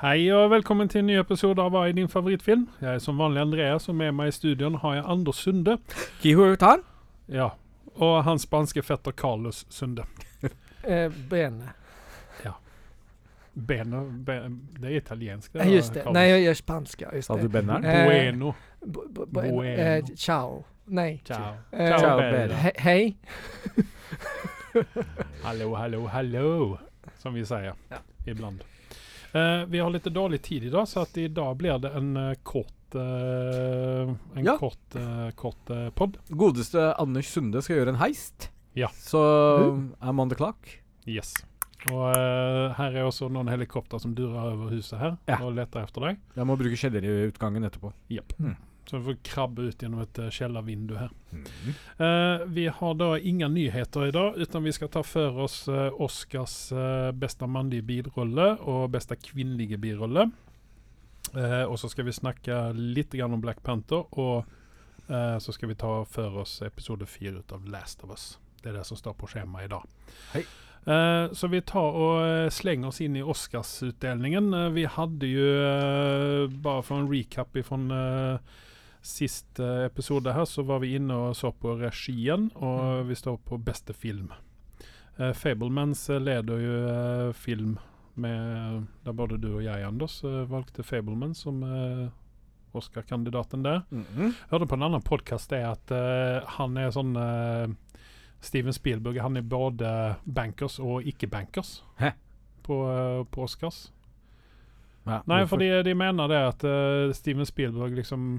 Hei og velkommen til en ny episode av Hva er din favorittfilm? Jeg er som vanlig Andreas, og med meg i studioen har jeg Anders Sunde. Kihutan? Ja, Og hans spanske fetter Carlos Sunde. Eh, bene. Bene, be, Det er italiensk, Eh, Just det. Carlos. Nej, jag gör spanska. Just Sa du det. benderen? Eh, bueno. B- b- b- Bueno. eh, ciao. Nej. Ciao. eh, Ciao, ciao, Bene. Bene. He hej. Hallo, hallo, hallo, som vi sier ibland. Eh, vi har litt dårlig tid i dag, så at i dag blir det en eh, kort eh, En Ja. kort, eh, kort eh, podd. Godeste Anders Sunde skal gjøre en heist. Ja. Så um, I'm on the clock. Yes. Og eh, her er også noen helikopter som durer over huset her Ja. og leter etter deg. Jeg må bruke kjellerutgangen etterpå. Så du får krabbe ut gjennom et eh, kjellervindu her. Eh, vi har da ingen nyheter i dag, utan vi skal ta for oss eh, Oscars eh, bästa manlige birolle og bästa kvinnelige birolle. Eh, og så skal vi snakke litt grann om Black Panther, og eh, så skal vi ta for oss episode fire av Last of Us. Det er det som står på skjemaet i dag. Hei. Eh, så vi tar og eh, slenger oss inn i Oscarsutdelingen. Eh, vi hadde jo, eh, bare for en recap ifrån eh, Sist eh, episode her så var vi inne og så på regien, og Mm. vi står på beste film. Eh, Fablemans eh, leder jo eh, film med Der både du og jeg, Anders, eh, valgte Fableman som eh, Oscar-kandidaten der. Mm. Hørte på en annen podkast det at eh, han er sånn eh, Steven Spielberg han er både bankers og ikke-bankers Hæ? på, eh, på Oscars. Ja, Nei, hvorfor- fordi de mener det at eh, Steven Spielberg liksom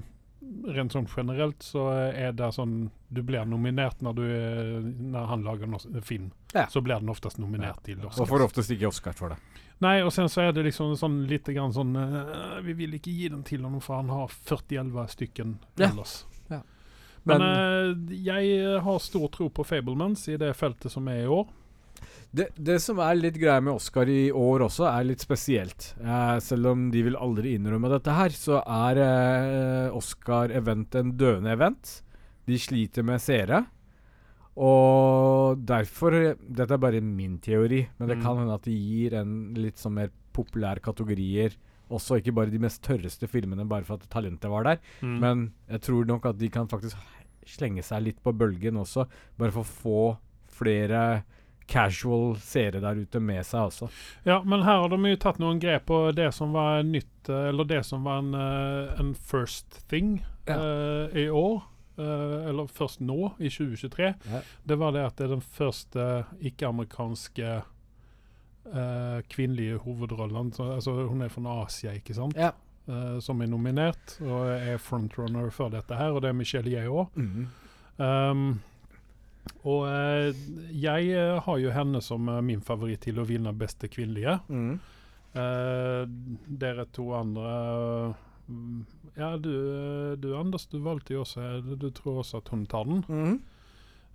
Rent sånn generelt så eh, er det sånn Du blir nominert når du eh, Når han lager en os- en film. Ja. Så blir den oftest nominert til Og får Oscar. oftest ikke Oscar for det. Nei, og sen så er det liksom sånn lite grann sånn eh, Vi vil ikke gi den til ham, for han har 40-11 stykken Ja. ellers. Ja. Men, eh, jeg har stor tro på Fablemans i det feltet som er i år. Det, det som er litt greia med Oscar i år også, er litt spesielt. Eh, selv om de vil aldri innrømme dette her, så er eh, Oscar-event en døende event. De sliter med seere. Og derfor Dette er bare min teori, men det Mm. kan hende at de gir en litt sånn mer populær kategorier også, ikke bare de mest tørreste filmene bare for at talentet var der. Men jeg tror nok at de kan faktisk slenge seg litt på bølgen også, bare for å få flere casual seere der ute med seg også. Ja, men her har de ju tagit någon grep på det som var nytt, eh, eller det som var en, eh, en first thing Ja. eh, i år. eh, eller først nå, i 2023. Ja. Det var det at det er den første ikke-amerikanske eh, kvinnelige hovedrollen. Så, alltså, altså, hun er fra Asia, ikke sant? Ja. Eh, som er nominert, og er frontrunner for dette her. Og det er Michelle Yeoh. Ehm, og eh, jeg eh, har jo henne som eh, min favoritt til å vinne beste kvinnelige. Eh, dere to andre mm, Ja, du, eh, du Anders, du valgte jo også eh, Du, du tror også at hun tar den.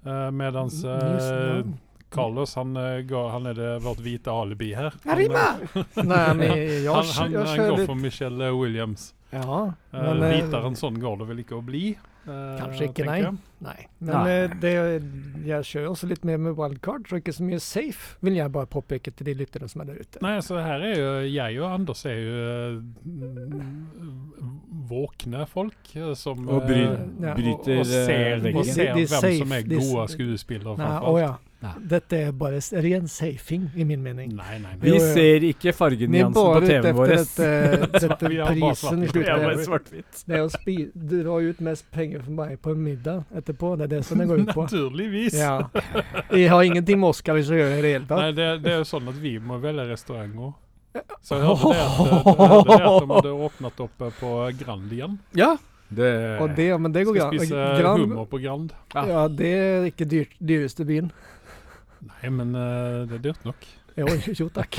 Eh, mens Mm, Just eh, now. Carlos, han, eh, går, han er det vårt hvite alibi her. Han, eh, Arriba! Nej, men jag, han, kö- han, jag han kör går lite... for Michelle Williams. Ja, Eh, men... eh, hvitere enn sånn går det vel ikke å bli? eh, Kanskje ikke, tenker nei. jeg. nej. Men Nej. eh, det, jag kör också lite mer med wildcard, så mycket som är safe, vill jag bara påpeka till de lyttare som är där ute. Nei, så her er jo jeg og Anders er jo eh, mm, våkne folk eh, som Og bry, eh, ja. bryter og, og ser, eh, og De- veggen. se- ser de er hvem safe, som er de er s- gode skuespillere, Nej, framfor åh alt. ja. Ja. Detta är bara s- ren safing i min mening. Nei, nei, nei. Vi Jo, jo. ser ikke Ni är fargenyansen på bara ute TV-en efter vår. att, eh, detta Vi har bara prisen i svart- vi har bara slutändan. svart-hvitt. Det är att spi- dra ut mest pengar för mig på en middag etterpå, det är det som det går ut på. Naturligvis! Ja. Vi har ingenting med Oscar vi ska göra i det hela Nei, det, det er jo sånn at vi må velge restauranter. Så jeg hørte det at, det, det, det at de hadde åpnet opp eh, på Grand igjen. Ja. Det, Och det, men det går Skal bra. spise hummer på Grand. Ja. Ja, det er ikke dyrt, dyreste byen. Nei, men eh, det er dyrt nok. Jo, jo takk.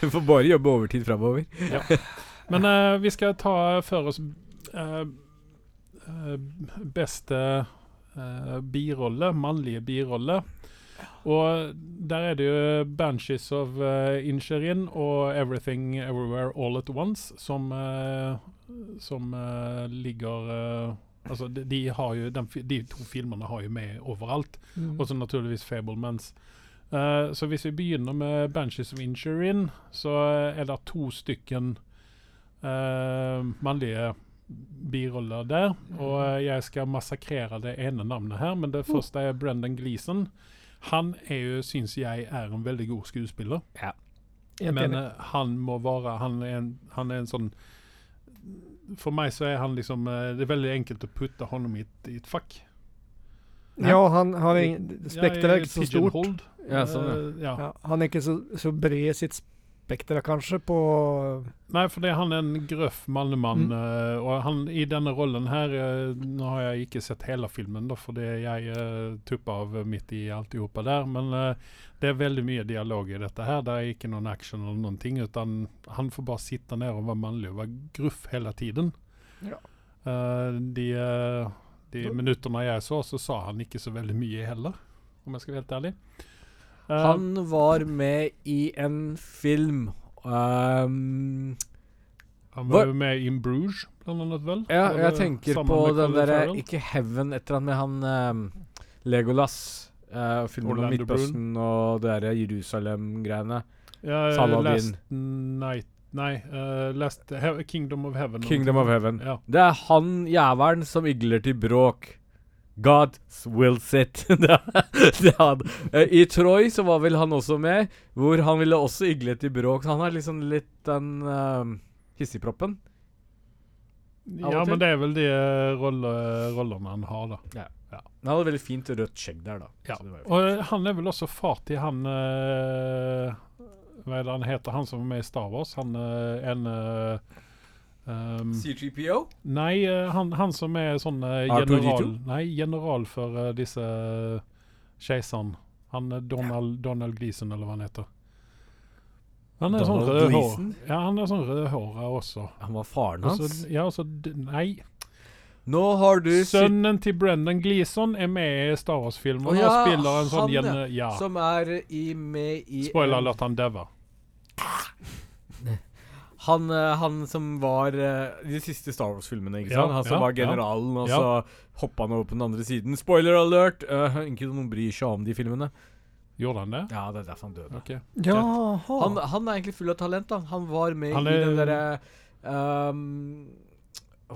Vi får bare jobbe overtid framover. Men eh, vi skal ta for oss eh, eh, beste eh, birolle, mannlige birolle. Og der er det jo 'Banshees of uh, Incherin' og 'Everything Everywhere All At Once' som, eh, som eh, ligger eh, Altså, de, Mm. Mm. de har jo den, fi- de to filmene har jo med overalt. Og så naturligvis Fablemans. Eh, så hvis vi begynner med Banshees of Injurin, så er det to stykken eh, mannlige biroller der. Og eh, jeg skal massakrere det ene navnet her, men Oh. det første er Brendan Gleeson. Han er jo, syns jeg, er en veldig god skuespiller. Helt Men enig. eh, han må være han er, en, han er en sånn For meg så er han liksom eh, Det er veldig enkelt å putte honom i et, i et fakk. eh, ja, han har ingen Spekteret er Jeg ikke så stort. pigeonholed. Ja, sånn, Eh, ja. Ja, han er ikke så, så bred i sitt spekter, kanskje, på Nei, for det, han er en grøff mannemann. Mm. eh, og han, i denne rollen her eh, Nå har jeg ikke sett hele filmen, da, fordi jeg uh, tuppa av midt i alltihopa der. Men eh, det er veldig mye dialog i dette her. Det er ikke noen action eller noen ting. Utan han får bare sitte ned og være mannlig og være gruff hele tiden. Ja. Eh, de eh, de minuttene jeg så, så sa han ikke så veldig mye heller, om jeg skal være helt ærlig. Eh, Han var med i en film ehm, han var- var jo med i In Bruges, blant annet, vel? Ja, Var jeg det tenker sammen på med den Colin derre Farrell? Ikke Heaven, et eller annet med han eh, Legolas. eh, filmen om Orlando Bloom. Midtøsten og det derre Jerusalem-greiene. Ja, Saladin. Last Night Nei, eh, Last He Kingdom of Heaven. Kingdom of Heaven. Ja. Det er han jævelen som igler til bråk. God will sit. det er det er han. Eh, I Troy så var vel han også med, hvor han ville også igle til bråk. Så han er liksom litt den eh, hissigproppen. Av Ja, og til. men det er vel de eh, rolle, rollene han har, da. Han hadde veldig fint rødt skjegg der, da. Ja. Så det var jo fint. Og eh, han er vel også far til han eh, Hva er det han heter, han som er med i Star Wars? Han eh, en eh, ehm, C3PO? Nei, eh, han, han som er sånn eh, R2D2? general Nei, general for eh, disse eh, keiseren. Han er Donald, Donald Gleason, eller hva han heter. Han er sånn Donald rødhår. Gleason? Ja, han er sånn rødhåra også. Han var faren Og hans. så- ja, og så d- Nei. Nå har du Sønn Sønnen til Brendan Gleason er med i Star Wars-filmen Å og ja, spiller en sånn han, ja. gjerne... Ja. som er i, med i Spoiler en- alert, han dauer. Han, eh, han som var eh, i de siste Star Wars-filmene, ikke Ja, sant? Han som ja, var generalen, og ja. så hoppa han over på den andre siden. Spoiler alert! Uh, ikke noen bryr seg om de filmene. Gjorde han det? Ja, det er derfor han døde. Ok. Jaha. Han, han er egentlig full av talent, da. Han var med Han i er- den derre ehm,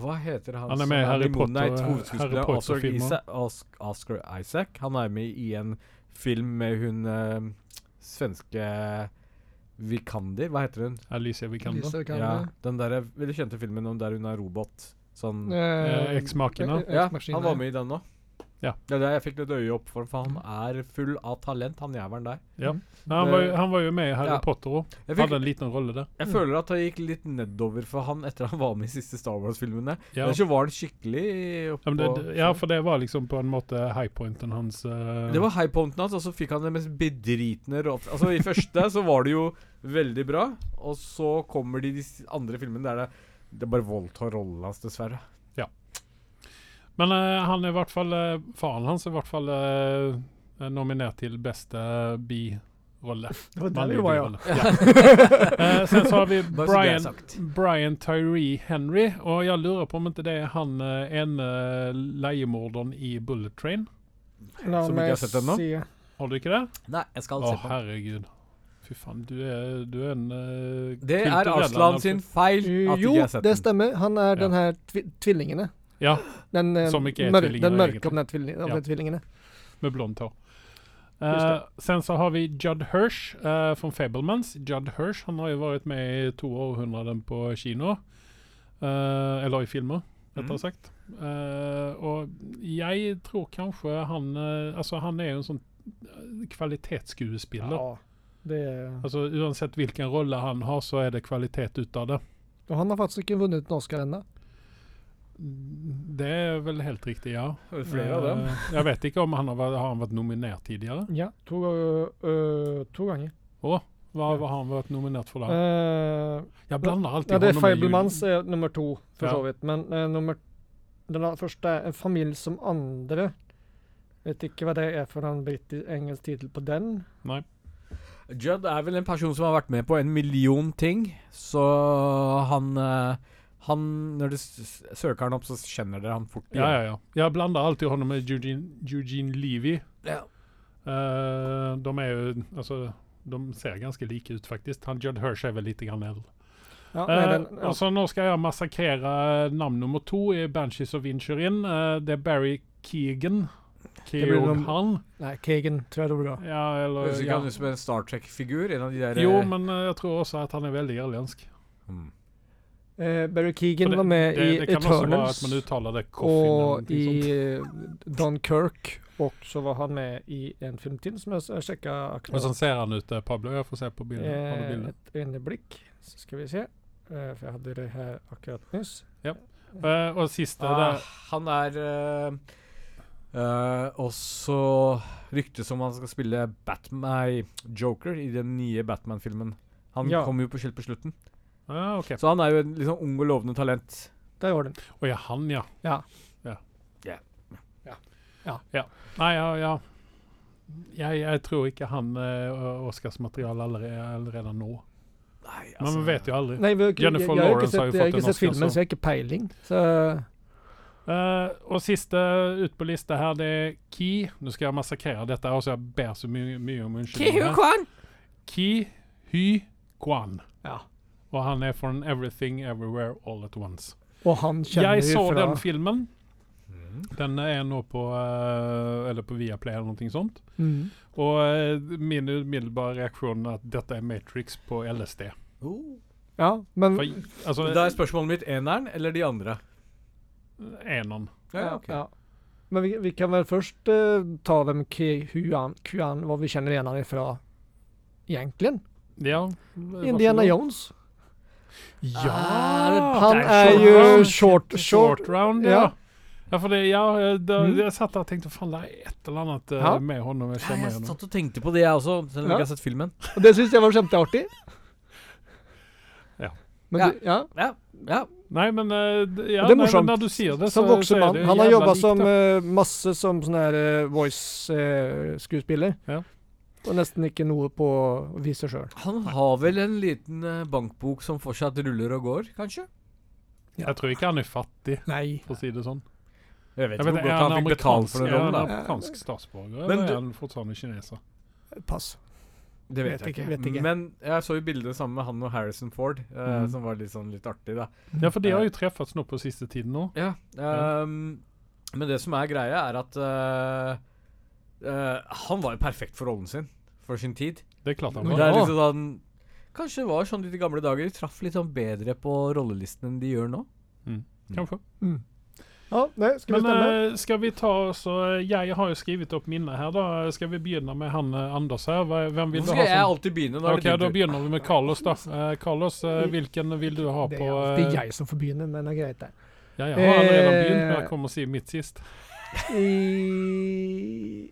Hva heter han? Han er som med i Harry Moon Potter- Knight, hovedskuespiller, Harry Potter-filmer. Oscar, Isa- Os- Oscar Isaac. Han er med i en film med hun ehm, svenske Vikander. Hva heter hun? Alicia Vikander. Lisa kan ja, det. den der veldig kjente filmen om der hun er robot. Sånn Eh, Eksmaken, da. Ja, X-Maskina. han var med i den òg. Ja. Mm. Det er der jeg fikk litt øye opp for, for han er full av talent, han jævelen der. Nei, han, var, jo- han var jo med i Harry eh, Ja. Potter òg. Jeg, fikk, Hadde en liten rolle der. jeg føler at han gikk litt nedover for han etter han var med i siste Star Wars-filmene. Ja. Ellers så var han skikkelig Ja, oppå men det, det- ja, for det var liksom på en måte highpointen hans. eh, Det var high pointen hans, og så fikk han den mest bedritne rått... Altså, i første så var det jo veldig bra, og så kommer de, de s- andre filmene der det, det bare voldtar rollen hans, dessverre. Men eh, han er i hvert fall eh, Faren hans er i hvert fall eh, eh, nominert til beste birolle. Det var der Mannlig vi var, ja. birolle. Ja. Eh, sen så har vi Bare så det er Brian, sagt. Brian Tyree Henry. Og jeg lurer på om ikke det er han eh, ene leiemorderen i Bullet Train. La Som ikke meg har sett den nå? se. Har du ikke det? Nei, jeg Å, skal se på den. herregud. Fy faen, du er, du er en eh, Det er kulturell Arslan sin feil Jo, at ikke jeg har sett det den. stemmer. Han er Ja. den her tvi tvillingene. Ja. Den, eh, Som ikke er mør tvillinger, den mørke egentlig. av den tvilling- av Ja. de tvillingene. med blondt hår. Just det. Eh, sen så har vi Judd Hirsch eh, från Fablemans. Judd Hirsch han har ju varit med i två århundraden på kino. Eh, eller i filmer, rättare Mm. sagt. Eh, och jag tror kanske han, eh, alltså han är ju en sån eh, kvalitetsskuespiller. Ja, det er- Alltså oavsett vilken roll han har så är det kvalitet utav det. Og han har faktisk ikke vunnet en Oscar ennå. Det är väl helt riktigt ja. Flere av dem. Eh, jag vet inte om han har, varit- har han varit nominerad tidigare. Ja, to, ga- øh, to ganger. Vad vad har han varit nominerad för då? Eh, Jag blandar alltid ja, det er honom med Fablemans er nummer to, for Ja. så vidt. Men eh, nummer den a- første er En familie som andre. Vet ikke hva det er for en britisk engelsk tittel på den. Judd er vel en person som har vært med på en million ting, så han, eh, han Når du s- søker han opp, så kjenner dere han fort Ja, ja, ja. Jeg blander alltid honom med Eugene, Eugene Levy. Ja. Eh, de er jo Altså, de ser ganska lika ut faktiskt. Han Judd Hirsch är väl lite grann äldre. Ja, Eh, nei, den, ja. Og så nå skal jeg massakrere navn nummer to i Banshees of Inchurin. det er Barry Keegan. blir noen- Keoghan. nei, Kagan tror jeg det blir bra. Ja, eller Høres ikke ja. han ut som en Star Trek-figur? En av de der Jo, eh, men eh, jeg tror også at han er veldig irländsk. mm. Eh, Barry Så Keegan var med det, i det kan også være Eternals at man uttaler det Coffin eller og noe i sånt. eh, Dunkirk. Og så var han med i en film til som jeg s- sjekka Og akkurat. sånn ser han ut, eh, Pablo. Jeg får se på bildet. Har du Eh, bildet? et øyeblikk, så skal vi se. Eh, for jeg hadde det her akkurat nyss. Eh, og siste Ah, der. han er eh, eh, også ryktes som han skal spille Batman nei, Joker i den nye Batman-filmen. Han Ja. kom jo på helt på slutten. Ah, ok. Så han er jo en litt sånn ung og lovende talent. Der var den. Å ja, han, ja. Ja. Ja. Ja. Ja. ja. Ja. Nei, ja, ja. Jeg, jeg tror ikke han eh, Oscars-materiale allerede, allerede nå. Nei, Men man vet jo aldri. Nei, vi, har ikke- Jennifer jeg, jeg, har ikke Lawrence har jo sett, jeg har fått en ikke sett Oscar, så- filmen, så jeg har ikke peiling. Så Eh, og siste ut på lista her, det er Ki. Nå skal jeg massakrere dette, her, så jeg ber så mye, mye om unnskyldning. her. Ki Hy Kwan. ja. Og han er fra Everything Everywhere All At Once. Og han kjenner Jeg vi så fra den filmen. Mm. Den er nå på eh, Eller på Viaplay eller noe sånt. Mm. Og eh, min umiddelbare reaksjon er at dette er Matrix på LSD. Oh. Ja, men For, altså, Da er spørsmålet mitt eneren eller de andre. Enon. ja, ja. Men vi, vi kan vel først eh, ta hvem Ki- Huan, Kuan, hva vi kjenner igjen han ifra egentlig. Ja. Indiana Jones. Ah, Ja! Han det er short jo round. short, short Short round, ja. Ja. Ja, for det, ja, da, Mm. jeg satt der og tenkte faen, det er et eller annet eh, Ja. med honom jeg kjenner Jeg igjen. satt og tenkte på det, jeg også, selv om jeg Ja. ikke har sett filmen. Og det syns jeg var kjempeartig. Ja. Men Ja. du, ja. Ja, ja. Nei, men eh, d- ja, Og det er nei, men morsomt. Når du sier det, Som så, voksen så er mann. det jo Han har jævla jobba likt, som da. eh, masse som eh, sånn her eh, voice-skuespiller. Ja. Og nesten ikke noe på å vise sjøl. Han har vel en liten eh, bankbok som fortsatt ruller og går, kanskje? Jeg tror ikke han er fattig, Nei. for å si det sånn. Jeg vet Jeg ikke vet, hvor er godt han fikk betalt amerikansk, for den er han rollen. da. amerikansk statsborger, Men eller du- er han fortsatt kineser? Pass. Det vet, Vet jeg ikke. ikke, vet ikke. Men jeg så jo bildet sammen med han og Harrison Ford, eh, Mm. som var litt sånn litt artig, da. Ja, for de har jo treffes nå på siste tiden nå. Ja, ehm, Men det som er greia, er at eh, eh, han var jo perfekt for rollen sin, for sin tid. Det er klart han Men var. det er Ja. liksom sånn Kanskje det var sånn i de gamle dager. De traff litt sånn bedre på rollelisten enn de gjør nå. Kanskje. Mm. Ja, det skal Men vi stemme. eh, skal vi ta så Jeg har jo skrevet opp minnet her, da. Skal vi begynne med han eh, Anders her? Hva- Hvem vil Nå du skal ha jeg som alltid begynne. Nå er Ok, det da din tur. begynner vi med Carlos, da. Eh, Carlos, eh, hvilken vil du ha det på er eh, alltid jeg som får begynne, men det er greit, det. Ja, jeg har allerede Eh, begynt, men jeg kommer å si mitt sist. I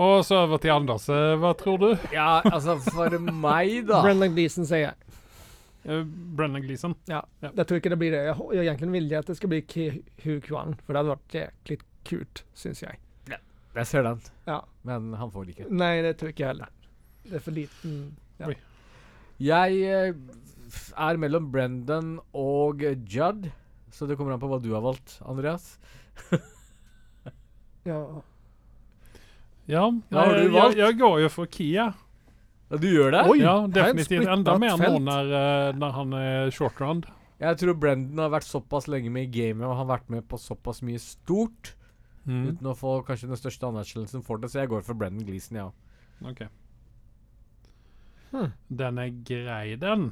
Og så over til Anders. Eh, Hva tror du? Ja, altså, for meg, da Brendan Gleeson, sier jeg. Eh, Brennan Gleeson. Jeg tror ikke det blir det. Jeg, hå- jeg egentlig vil jeg at det skal bli Ki- Hu Kwan, for det hadde vært jæklig kult, syns jeg. Jeg ser den, Ja. men han får det ikke. Nei, det tror ikke jeg heller. Det er for liten ja. Oi. Jeg eh, f- er mellom Brendan og eh, Judd, så det kommer an på hva du har valgt, Andreas. ja. Ja, Hva har eh, du valgt? Jeg, jeg går jo for Kia. Ja, du gjør det? Oi, ja, her er et definitivt. Enda splittet mer nå felt. når, eh, når han er short round. Jeg tror Brendan har vært såpass lenge med i gamet og har vært med på såpass mye stort Mm. uten å få kanskje den største anerkjennelsen for det, så jeg går for Brendan Gleeson, jeg ja. òg. Hmm. Den er grei, den.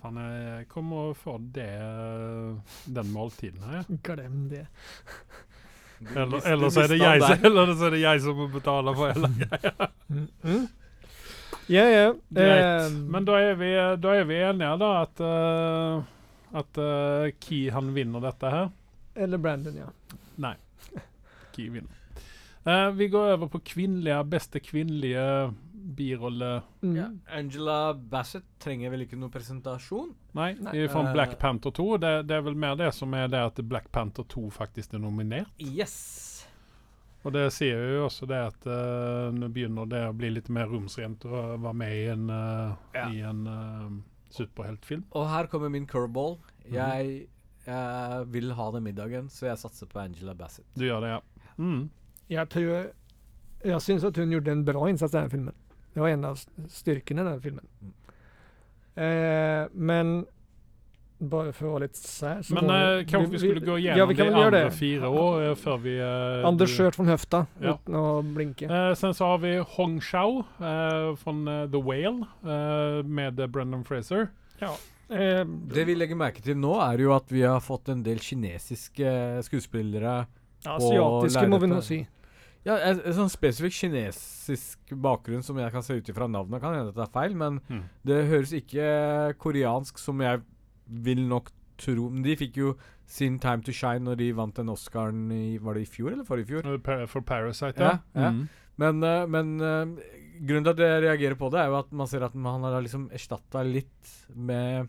Faen, jeg kommer å få det eh, Den måltiden her. Glem det. Eller, eller, så er det jeg, som- eller så er det jeg som må betale for hele Mm, Ja, ja. Greit. Ehm, Men da er vi, da er vi enige, da, at, eh, at eh, Key han vinner dette her. Eller Brandon, ja. Key vinner. Eh, vi går over på kvinnelige, beste kvinnelige birolle Mm. Ja. Angela Bassett trenger vel ikke noe presentasjon? Nei, Nei. det er fra Eh. Black Panther 2. Det, det er vel mer det som er det at Black Panther 2 faktisk er nominert. Yes. Og det sier jo også det at eh, nå begynner det å bli litt mer romsrent å være med i en, eh, Ja. i en eh, superheltfilm. Og her kommer min curveball. Jeg eh, vil ha den middagen, så jeg satser på Angela Bassett. Du gjør det, ja. Mm. Jeg tror Jag syns att hon gjorde en bra insats i den här filmen. Det var en av styrkorna i den här filmen. Eh, men bara för att vara lite sär så Men var det- eh, kanske vi skulle gå igenom ja, vi kan de väl göra andra det. fyra år eh, før vi eh, Anders du- sköt från höfta Ja. utan att blinka. Eh, sen så har vi Hong Shao eh, från eh, The Whale eh, med eh, Brendan Fraser. Eh, Det vi legger merke til nå, er jo at vi har fått en del kinesiske eh, skuespillere. asiatiska må vi lärde nog sig. se. Ja, en, en sånn spesifikk kinesisk bakgrunn som jeg kan se ut ifra navnet. Kan hende at det er feil, men Mm. det høres ikke eh, koreansk som jeg vil nok tro. Men de fikk jo sin Time to Shine når de vant den Oscaren i Var det i fjor eller forrige fjor? Eh, pa- For Parasite, Ja, ja. Mm. Men, eh, men eh, grunnen til at jeg reagerer på det, er jo at man ser at man har liksom erstatta litt med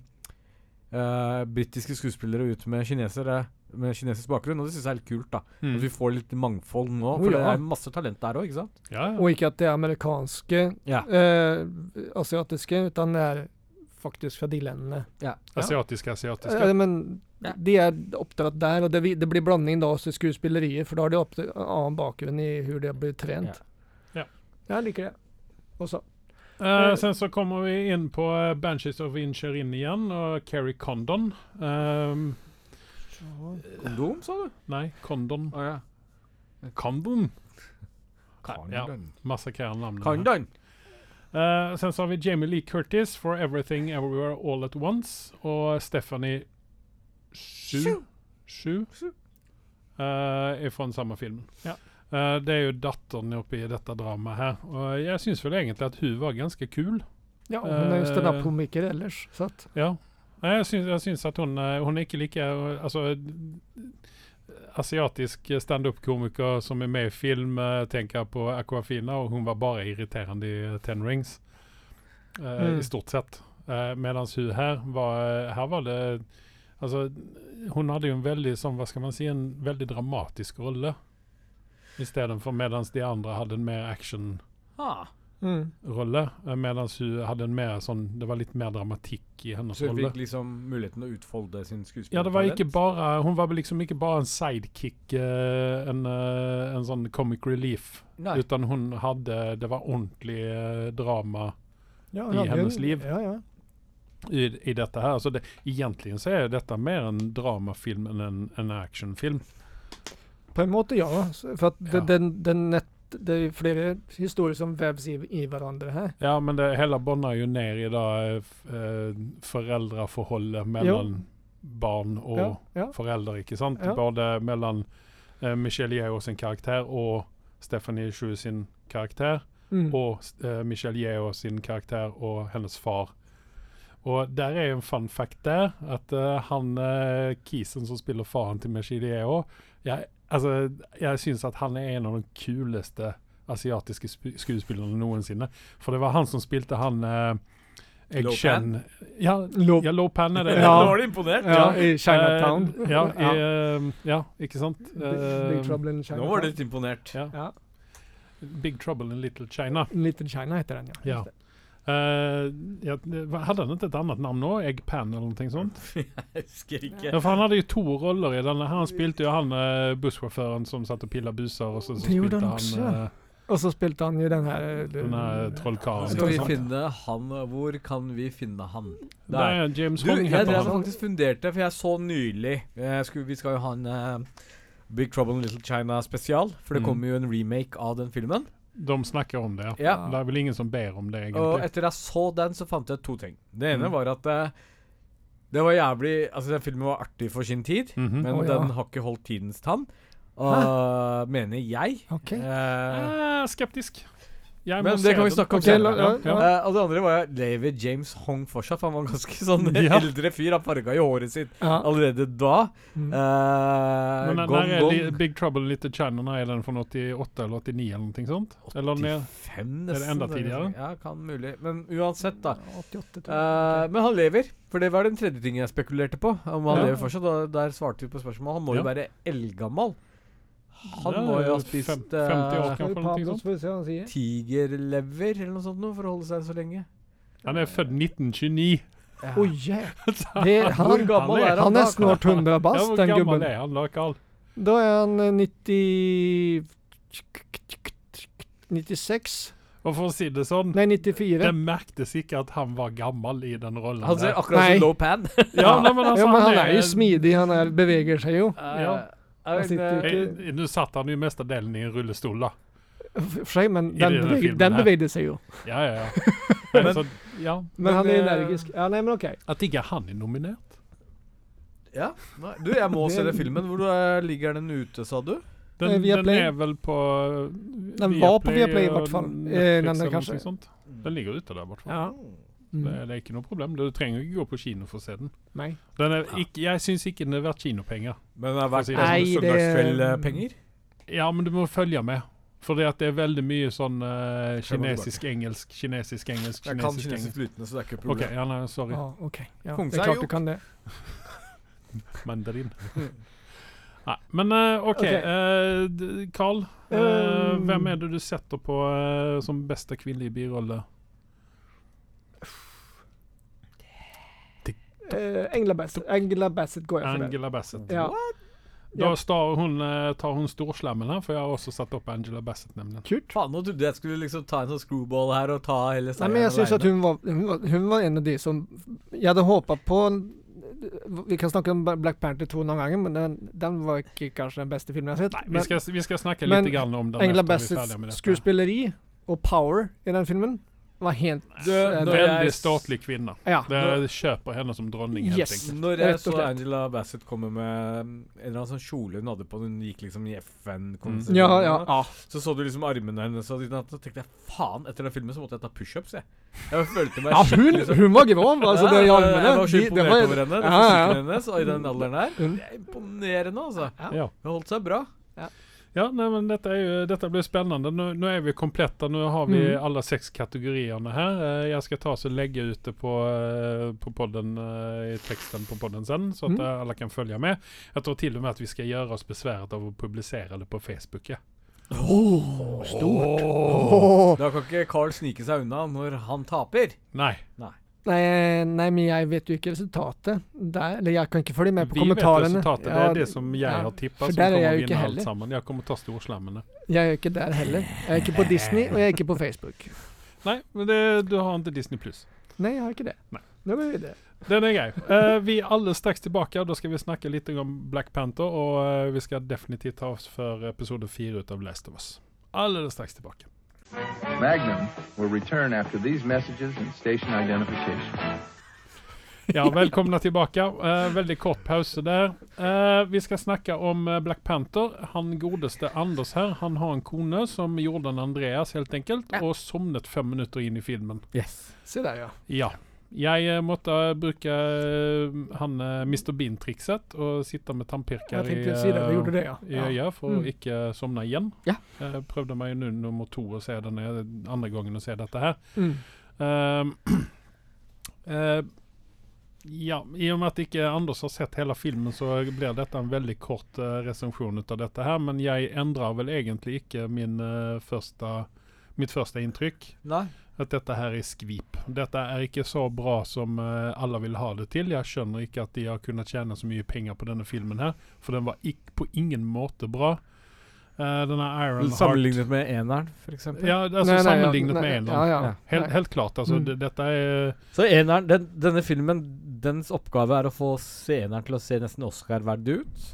uh, britiske skuespillere ut med kinesere med kinesisk bakgrunn, og det syns jeg er litt kult. da Mm. At vi får litt mangfold nå, Oh, for det ja. er masse talent der òg, ikke sant? Ja, ja. Och inte att det är amerikanska, Ja. eh, asiatiska, utan det är faktiskt från de länderna. Ja. Asiatiske, asiatiske. Eh, men Ja. det är uppdraget där och det, vi- det blir blandning då så skuespillerier för då har det upp, annan bakgrund i hur det blir tränat. Ja. Jag liker det. Och så. Eh, sen så kommer vi inn på eh, Banshees of Incherin igjen, og Carrie Condon. Ehm, Kondom, sa du? nei, Condon. Å ja. Condon! Ja. Kondon. Massakrerer navnet. her. Kondon. Eh, sen så har vi Jamie Lee Curtis for Everything Everywhere All At Once og Stephanie Shu, Shu Shu. eh, er fra samme film. Ja. Eh, det er jo datteren oppe i dette dramaet her. Og jeg syns vel egentlig at hun var ganske kul. Ja, hon är ju Eh, standup-komiker ellers. Så att, Ja. Nei, jeg syns, jeg syns at hun, eh, hun er ikke like eh, Altså eh, Asiatisk standup-komiker som er med i film, eh, tenker jeg på Aquafina, og hun var bare irriterende i eh, Ten Rings. Eh, Mm. I stort sett. Uh, Mens hun her var Her var det alltså, Altså, hun hadde jo en veldig sånn, hva skal man si, en veldig dramatisk eh, rolle. Istedenfor mens de andre hadde en mer actionrolle. Ah. mm. eh, Mens hun hadde en mer sånn Det var litt mer dramatikk i hennes Så hun rolle. fikk liksom muligheten å utfolde sin skuespiller. Ja, det var ikke bare Hun var liksom ikke bare en sidekick, eh, en, eh, en sånn comic relief. Nei. Utan hun hadde Det var ordentlig eh, drama ja, I han hade ju- hennes liv. Ja, ja. i, i dette her. Så det, egentlig så er dette mer en dramafilm enn en, en actionfilm. På en måte ja. Så- För att det, Ja. den, den nät, det är flera historier som vävs i, i varandra här. Ja, men det hele bånder jo ned i da eh, f- eh, foreldreforholdet mellom barn og Ja, ja. foreldre, ikke sant? Ja. Både mellom eh, Michelle Yeoh sin karakter og Stephanie Shu sin karakter. Mm. og eh, Michelle Yeoh sin karakter og hennes far. Og der er jo en fun fact der, at eh, han eh, Kisen som spiller faren til Michelle Yeoh jeg, altså, jeg syns at han er en av de kuleste asiatiske sp skuespillerne noensinne. For det var han som spilte han eh, jeg Lo Pan? kjenner- Ja, Lo- ja, Lo Pan er det. Ja. Nå var du imponert. ja, i Chinatown. Eh, ja, i, eh, ja, ikke sant? Big, Eh, Big Trouble in Nå var Chinatown. du litt imponert. Ja. Ja. Big Trouble in Little China. Little China heter den ja. Ja. Just det. Eh, ja, hva- hadde han ikke et annet navn nå? Eggpan eller noe sånt? Jeg husker ikke. Ja, for han hadde jo to roller i denne. Han spilte jo han eh, bussjåføren som satt og pilla buser, og så, så Det gjorde han spilte han også. eh, Och så spelade han ju den här... eh, den her trollkaren. Skal vi ikke sant? finne han Hvor kan vi finne han? Det er James Du, Hong jeg heter drev han. og faktisk funderte, for jeg så nylig jeg skulle, Vi skal jo ha en eh, Big Trouble in Little China spesial, for det Mm. kommer jo en remake av den filmen. De snakker om det, ja. Ja. Det er vel ingen som ber om det, Og egentlig. etter jeg så den, så fant jeg to ting. Det ene Mm. var at eh, det var jævlig Altså, den filmen var artig for sin tid, Mhm. men Å, ja. den har ikke holdt tidens tann. Og mener jeg. Okej. Eh, Eh, skeptisk. Jeg må Men det se kan vi den. snakke om Ok, senere. la- Ja, Ja, ja. eh, og det andre var Lever James Hong fortsatt? For han var en ganske sånn Ja. eldre fyr. Han farga jo håret sitt Ja. allerede da. Mm. Eh, Men den gong, her er Li- gong. Big Trouble in Little China, nei, er den fra 88 eller 89 eller noe sånt? Eller ned? 85, Er nesten. det enda tidligere? Ja, kan mulig. Men uansett, da. 88 tror Eh, men han lever, for det var den tredje tingen jeg spekulerte på. Om han Ja. lever fortsatt, og der svarte vi på spørsmålet. Han må Ja. jo være eldgammel. Han Ja, må jo ha fem- spist 50 år. eh, kan jag. få någonting Pablo sånt. så får vi se vad han säger. tigerlever eller noe sånt nå, for å holde seg så lenge. Han er født 1929. Ja. Oj jäklar. Det är Hvor han. gammel Han er han, Han är da? snart 100 Ja, bast hvor den gammel gubben. eh, er han da, Carl? Då är han eh, 90... 96 Og for å si det sånn, Nei, 94. det merktes ikke at han var gammel i den rollen. Han ser der. akkurat Nei. som Low Pan. ja, nei, men alltså altså, ja, men han er jo smidig, han er, beveger seg jo. Ja. Han sitter Eh, jo Eh, Nå satt han jo mestadelen i en rullestol, da. For seg, men I den, denne beveg, filmen den her. bevegde seg jo. Ja, ja, ja. Men, så, ja. Men, Men, han er eh, energisk. Ja, nei, men OK. At ikke han er nominert. ja. Nei, du, jeg må se den filmen. Hvor eh, ligger den ute, sa du? Den, Eh, den Viaplay. er vel på eh, Den var på Viaplay i hvert fall. Eh, den er kanskje- sånt. Mm. Den ligger ute der, i hvert fall. Ja. Det, Mm. det er ikke noe problem. Du trenger ikke gå på kino for å se den. Nei. den er ikke, jeg syns ikke den er verdt kinopenger. Men det er verdt verdt Nei, det- Mm. søndagskveldpenger? Ja, men du må følge med. For det, at det er veldig mye sånn eh, Jeg må tilbake. kinesisk-engelsk, kinesisk-engelsk, Jeg kan kinesisk kinesisk-engelsk. flytende, så det er ikke OK, et problem. ja, nei, sorry. Ja, OK. Ja, Kong det er seg klart jo. du kan det. Mandarin. Nei, men eh, OK. Ok. eh, d- Carl, eh, Um, hvem er det du setter på eh, som beste kvinnelige birolle? Eh, Angela Bassett, Angela Bassett går jeg for. der. Angela Bassett. Ja. Da Ja. står hun, eh, tar hun storslammen her, for jeg har også satt opp Angela Bassett, nemlig. Kult. Faen, nå trodde jeg skulle liksom ta en sånn screwball her og ta hele Nei, men jeg syns at hun var, hun, var, hun var en av de som Jeg hadde håpa på en- Vi kan snakke om Black Panther 2 noen ganger, men den, den var ikke kanskje den beste filmen jeg har sett. Nei, vi men skal, vi skal snakke men litt grann om den Angela etter vi er ferdige med Bassets dette. skuespilleri og power i den filmen var helt Du, eh, når jeg- Veldig statlig kvinne. Ja. Det kjøper henne som dronning, helt Yes. enkelt. Rett Når jeg og så slett. Angela Bassett komme med mm, en eller annen sånn kjole hun hadde på Hun gikk liksom i FN-konserten. Ja, ja. ja. Så så du liksom armene hennes, og sånn, så tenkte jeg faen, etter den filmen så måtte jeg ta pushups, jeg. Jeg følte meg Ja, hun, hun var grov! Altså, det Ja, hjelmene Jeg var Mm. så de- det imponert over henne. Ja, ja. fysikken hennes, og i den alderen her. Hun- Det er imponerende, altså. Ja. Hun holdt seg bra. Ja, nei, men dette, er jo, dette blir spennende. Nå, nå er vi komplette. Nå har vi Mm. alle seks kategoriene her. Eh, Jeg skal ta og legge ut det på, eh, på podden, eh, i teksten på podden sen, så at Mm. eh, alle kan følge med. Jeg tror til og med at vi skal gjøre oss besværet av å publisere det på Facebook. Ja. Stort. Da kan ikke Carl snike seg unna når han taper. Nei. Nei, nei, men jeg vet jo ikke resultatet der. Eller jeg kan ikke følge med på Vi vet kommentarene. resultatet. Det Ja, er det som jeg ja. har tippa, For som der er kommer jeg å jo vinne ikke alt heller. sammen. Jeg kommer ta storslammene. Jeg er jo ikke der heller. Jeg er ikke på Disney, og jeg er ikke på Facebook. Nei, men det, du har ikke Disney pluss. Nei, jeg har ikke det. Nei. Nå går vi videre. Den er grei. Eh, vi er alle straks tilbake. og Da skal vi snakke litt om Black Panther. Og eh, vi skal definitivt ta oss for episode fire ut av Last of Us. Allerede straks tilbake. Magnum will return after these messages and station identification. Ja, velkomna tillbaka. Eh, väldigt kort paus där. Eh, vi ska snacka om eh, Black Panther. Han godeste Anders här, han har en kone som gjorde en Andreas helt enkelt og somnet fem minutter inn i filmen. Se der, ja. Ja. Jeg eh, måtte bruke eh, han eh, Mr. Bean-trikset og sitte med Jeg tannpirker i, tenkte å si det. Du eh, gjorde det, ja. i øya for Mm. å ikke sovne igjen. Ja. Jeg prøvde meg jo nå nummer to å se denne andre gangen å se dette her. Mm. Ehm, eh, ja, I og med at ikke Anders har sett hele filmen, så blir dette en veldig kort eh, resensjon av dette her. Men jeg endrer vel egentlig ikke min, eh, første, mitt første inntrykk. Nei. At dette her er skvip. Dette er ikke så bra som eh, alle vil ha det til. Jeg skjønner ikke at de har kunnet tjene så mye penger på denne filmen her, for den var ikk- på ingen måte bra. Eh, denne Iron Heart Sammenlignet med eneren, for eksempel. Ja, altså Nei, nei, ja, sammenlignet nei, Alltså, med en Ja, eller annen. ja. Ja. Helt, Nei. helt klart, altså. Mm. det- Dette er Så eneren, den, denne filmen, dens oppgave er å få se eneren til å se nesten Oscar-verdig ut.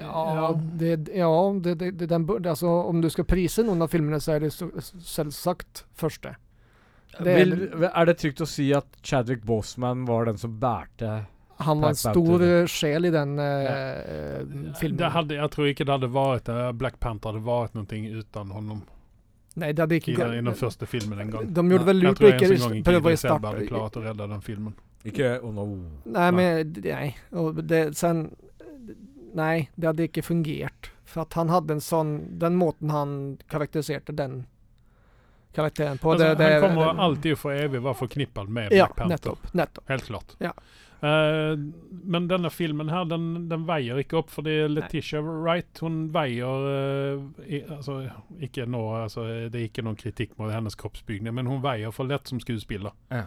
Ja, det, ja det, det, det, den, burde- altså, om du skal prise noen av filmene, så er det så, selvsagt første. Det er Vil, er det trygt å si at Chadwick Boseman var den som bærte Han var en Black Panther. stor eh, sjel i den eh, filmen. det hadde, Jeg tror ikke det hadde vært eh, Black Panther hadde vært noe uten honom Nei, det hadde i ikke den, i den første filmen en gang. De gjorde vel Jeg lurt tror å ikke ikke engang prøve å Idris Elba starte hadde klart å redde den filmen. Ikke oh no. Nei, men Nei. Og det, sen, nei, det hadde ikke fungert. For at han hadde en sånn Den måten han karakteriserte den karakteren på Altså, det, det, Alltså, han kommer alltid for evig være forknippet med Ja, Black Panther. nettopp. nettopp. Helt klart. Ja. Eh, men denne filmen her, den, den veier ikke opp, fordi Letitia Wright hun veier eh, i, altså, ikke nå, altså, alltså, Det er ikke noen kritikk mot hennes kroppsbygning, men hun veier for lett som skuespiller. Ja.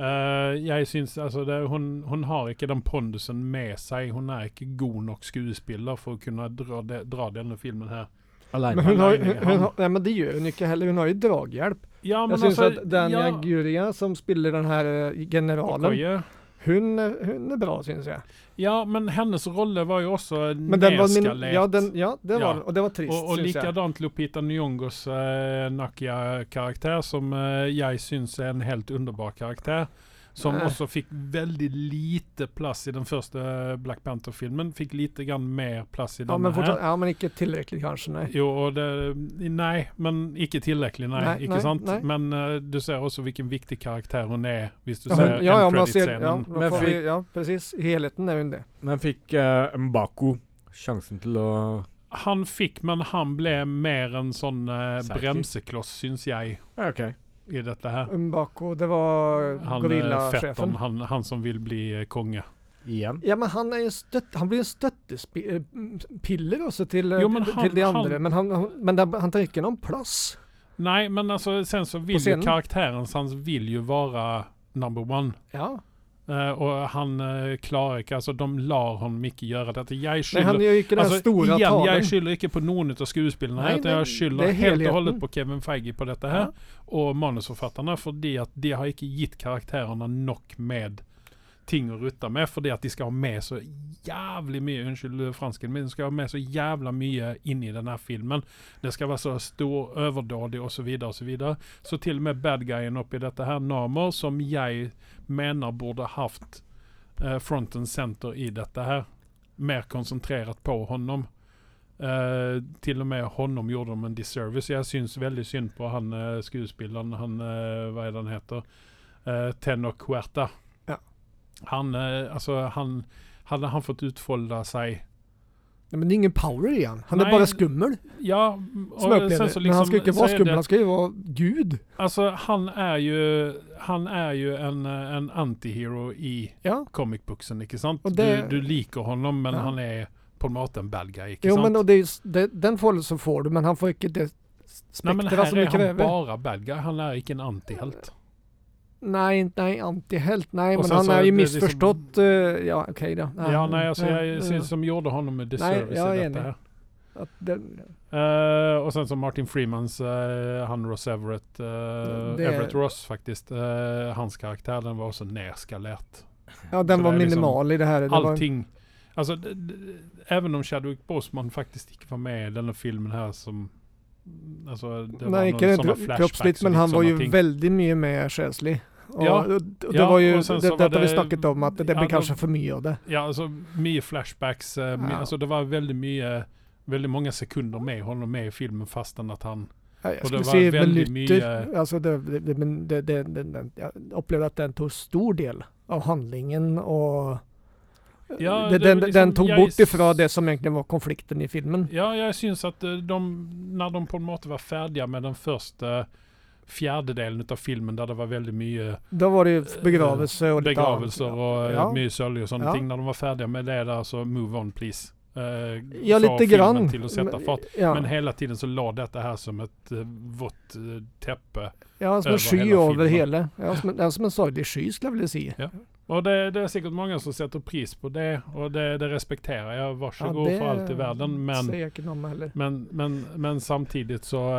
Eh, jeg syns altså, det, hun, hun har ikke den pondusen med seg. Hun er ikke god nok skuespiller for å kunne dra, de, dra denne filmen her Alene. Men, hun har, alene i hun, hand. hun, har- nej, men det gör hon ju inte heller, hon har ju draghjälp. Ja, men jag syns alltså, att Danja ja, Guria som spelar den här eh, generalen, Okoye. hon, är- hon är bra syns jag. Ja, men hennes rolle var ju också Men den var min, nedskalert. ja, den, ja, det Ja. var den. Och det var trist Og, og syns jag. likadant Lupita Nyong'os eh, Nakia-karakter, som eh, jeg syns er en helt underbar karakter. Som Nei. også fikk veldig lite plass i den første Black Panther-filmen. Fikk lite grann mer plass i Ja denne men, her. fortsatt, ja men ikke tilrekkelig kanskje, nei. Jo, og det, nei, men ikke tilrekkelig, nei. Nei, ikke nei, sant? nei. Men eh, du ser også hvilken viktig karakter hun er, hvis du Ja, ser men, ja, ja, man ser, ja, endcredit-scenen. men Men får vi, fick- ja, precis. I helheten är hon det. Men fikk uh, Mbako sjansen til å Han fikk, men han ble mer en sånn eh, Sidekick. bremsekloss, syns jeg, Ja, OK. i dette her. Mbako, det var Han eh, Fetton, gorillachefen. han, han som vill bli eh, konge. Igjen. Ja men han, är ju en stött, han blir en stöttepiller också till, eh, Jo, men till, han- till de han- andra. men han, han, men han, han tar inte någon plats. Nej, men alltså sen så På vill ju scenen? karaktären, så han vill ju vara number one. Ja. Eh, och han eh, klarar inte, alltså de lar honom inte göra detta. Jag Nej, skyller, han gör ju inte den här alltså, stora igen, talen. jag skyller inte på någon av skådespelarna Nej, här, utan nej, jag det skyller är helt helheten. och hållet på Kevin Feige på detta här. Ja. Och manusförfattarna, för det att de har inte gett karaktärerna nog med ting att rutta med, för det att de ska ha med så jävligt mycket, undskyld fransken, men de ska ha med så jävla mycket in i den här filmen. Det ska vara så stor, överdådig och så vidare och så vidare. Så till och med bad guyen uppe i detta här, Namor, som jag menar borde haft eh, front and center i detta här. Mer koncentrerat på honom. Eh, till och med honom gjorde de en disservice. Jag syns väldigt synd på han eh, skådespelaren, han, eh, vad är det han heter? Eh, Tenno Huerta. Ja. Han, eh, alltså han, hade han fått utfolda sig. Nej, men det är ingen power i han. Han Nej, är bara skummel. Ja, Som jag upplever det. Men han ska ju inte så vara är det- skummel, han ska ju vara gud. Alltså han är ju, han är ju en, eh, en antihero i Ja. comic booksen, icke sant? Och det- Du, du liker honom men Ja. han är på något en bad guy, icke Jo sant? men och det är, ju s- det, den får så får du, men han får inte det Nej men spektra här som är du han kräver. bara bad guy, han är icke en antihelt. Nej, nej, antihelt. Nej, Och men sen han så är är det ju liksom- missförstått. eh, ja, okej då. Ja nej alltså jag ja. syns som gjorde honom en disservice jag i är enig. detta här. Att den, Eh, och sen som Martin Freemans, eh, han Ross Everett, eh, Det- Everett Ross faktiskt, eh, hans karaktär den var så nerskalert. ja, den Så var det är liksom minimal i det här. Det var, allting. Alltså, d- d- även om Chadwick Boseman faktiskt inte var med i den här filmen här som... Alltså, det nej, var inte någon det såna dro- flashbacks kroppsligt, och men lite han var såna ju ting. väldigt mycket mer själslig. Och, Ja. och, det Ja, var ju, och sen det, så var detta vi det- snackat om, att det, ja, blir de- kanske för mycket av det. Ja, alltså mycket flashbacks. eh, my- Ja. Alltså det var väldigt mycket... Väldigt många sekunder med honom med i filmen fastän att han... Ja, Jag Och det skulle var se väldigt minuter. Alltså det, det, det, men det, det, det, det, jag upplevde att den tog stor del av handlingen och Ja, det, det var den, liksom- den tog jag bort är- ifrån det som egentligen var konflikten i filmen. Ja, jag syns att eh, de... När de på något sätt var färdiga med den första fjärdedelen av filmen där det var väldigt mycket eh, Då var det ju begravelse och lite annat. begravelser och ja. Ja. mycket sörje och sånt. Ja. När de var färdiga med det där så move on please. Eh, Ja, få lite filmen grann. Till att sätta Men- fart. Ja, Men hela tiden så la detta här som ett eh, vått eh, täppe. ja som över en sky hela över filmen. hela. Ja, som, en- ja, som en sorglig sky skulle jag vilja se. Och det, det är säkert många som sätter pris på det och det, det respekterar jag. Varsågod för allt i världen. Men, Säger jag inte om heller. men, men, men samtidigt så eh,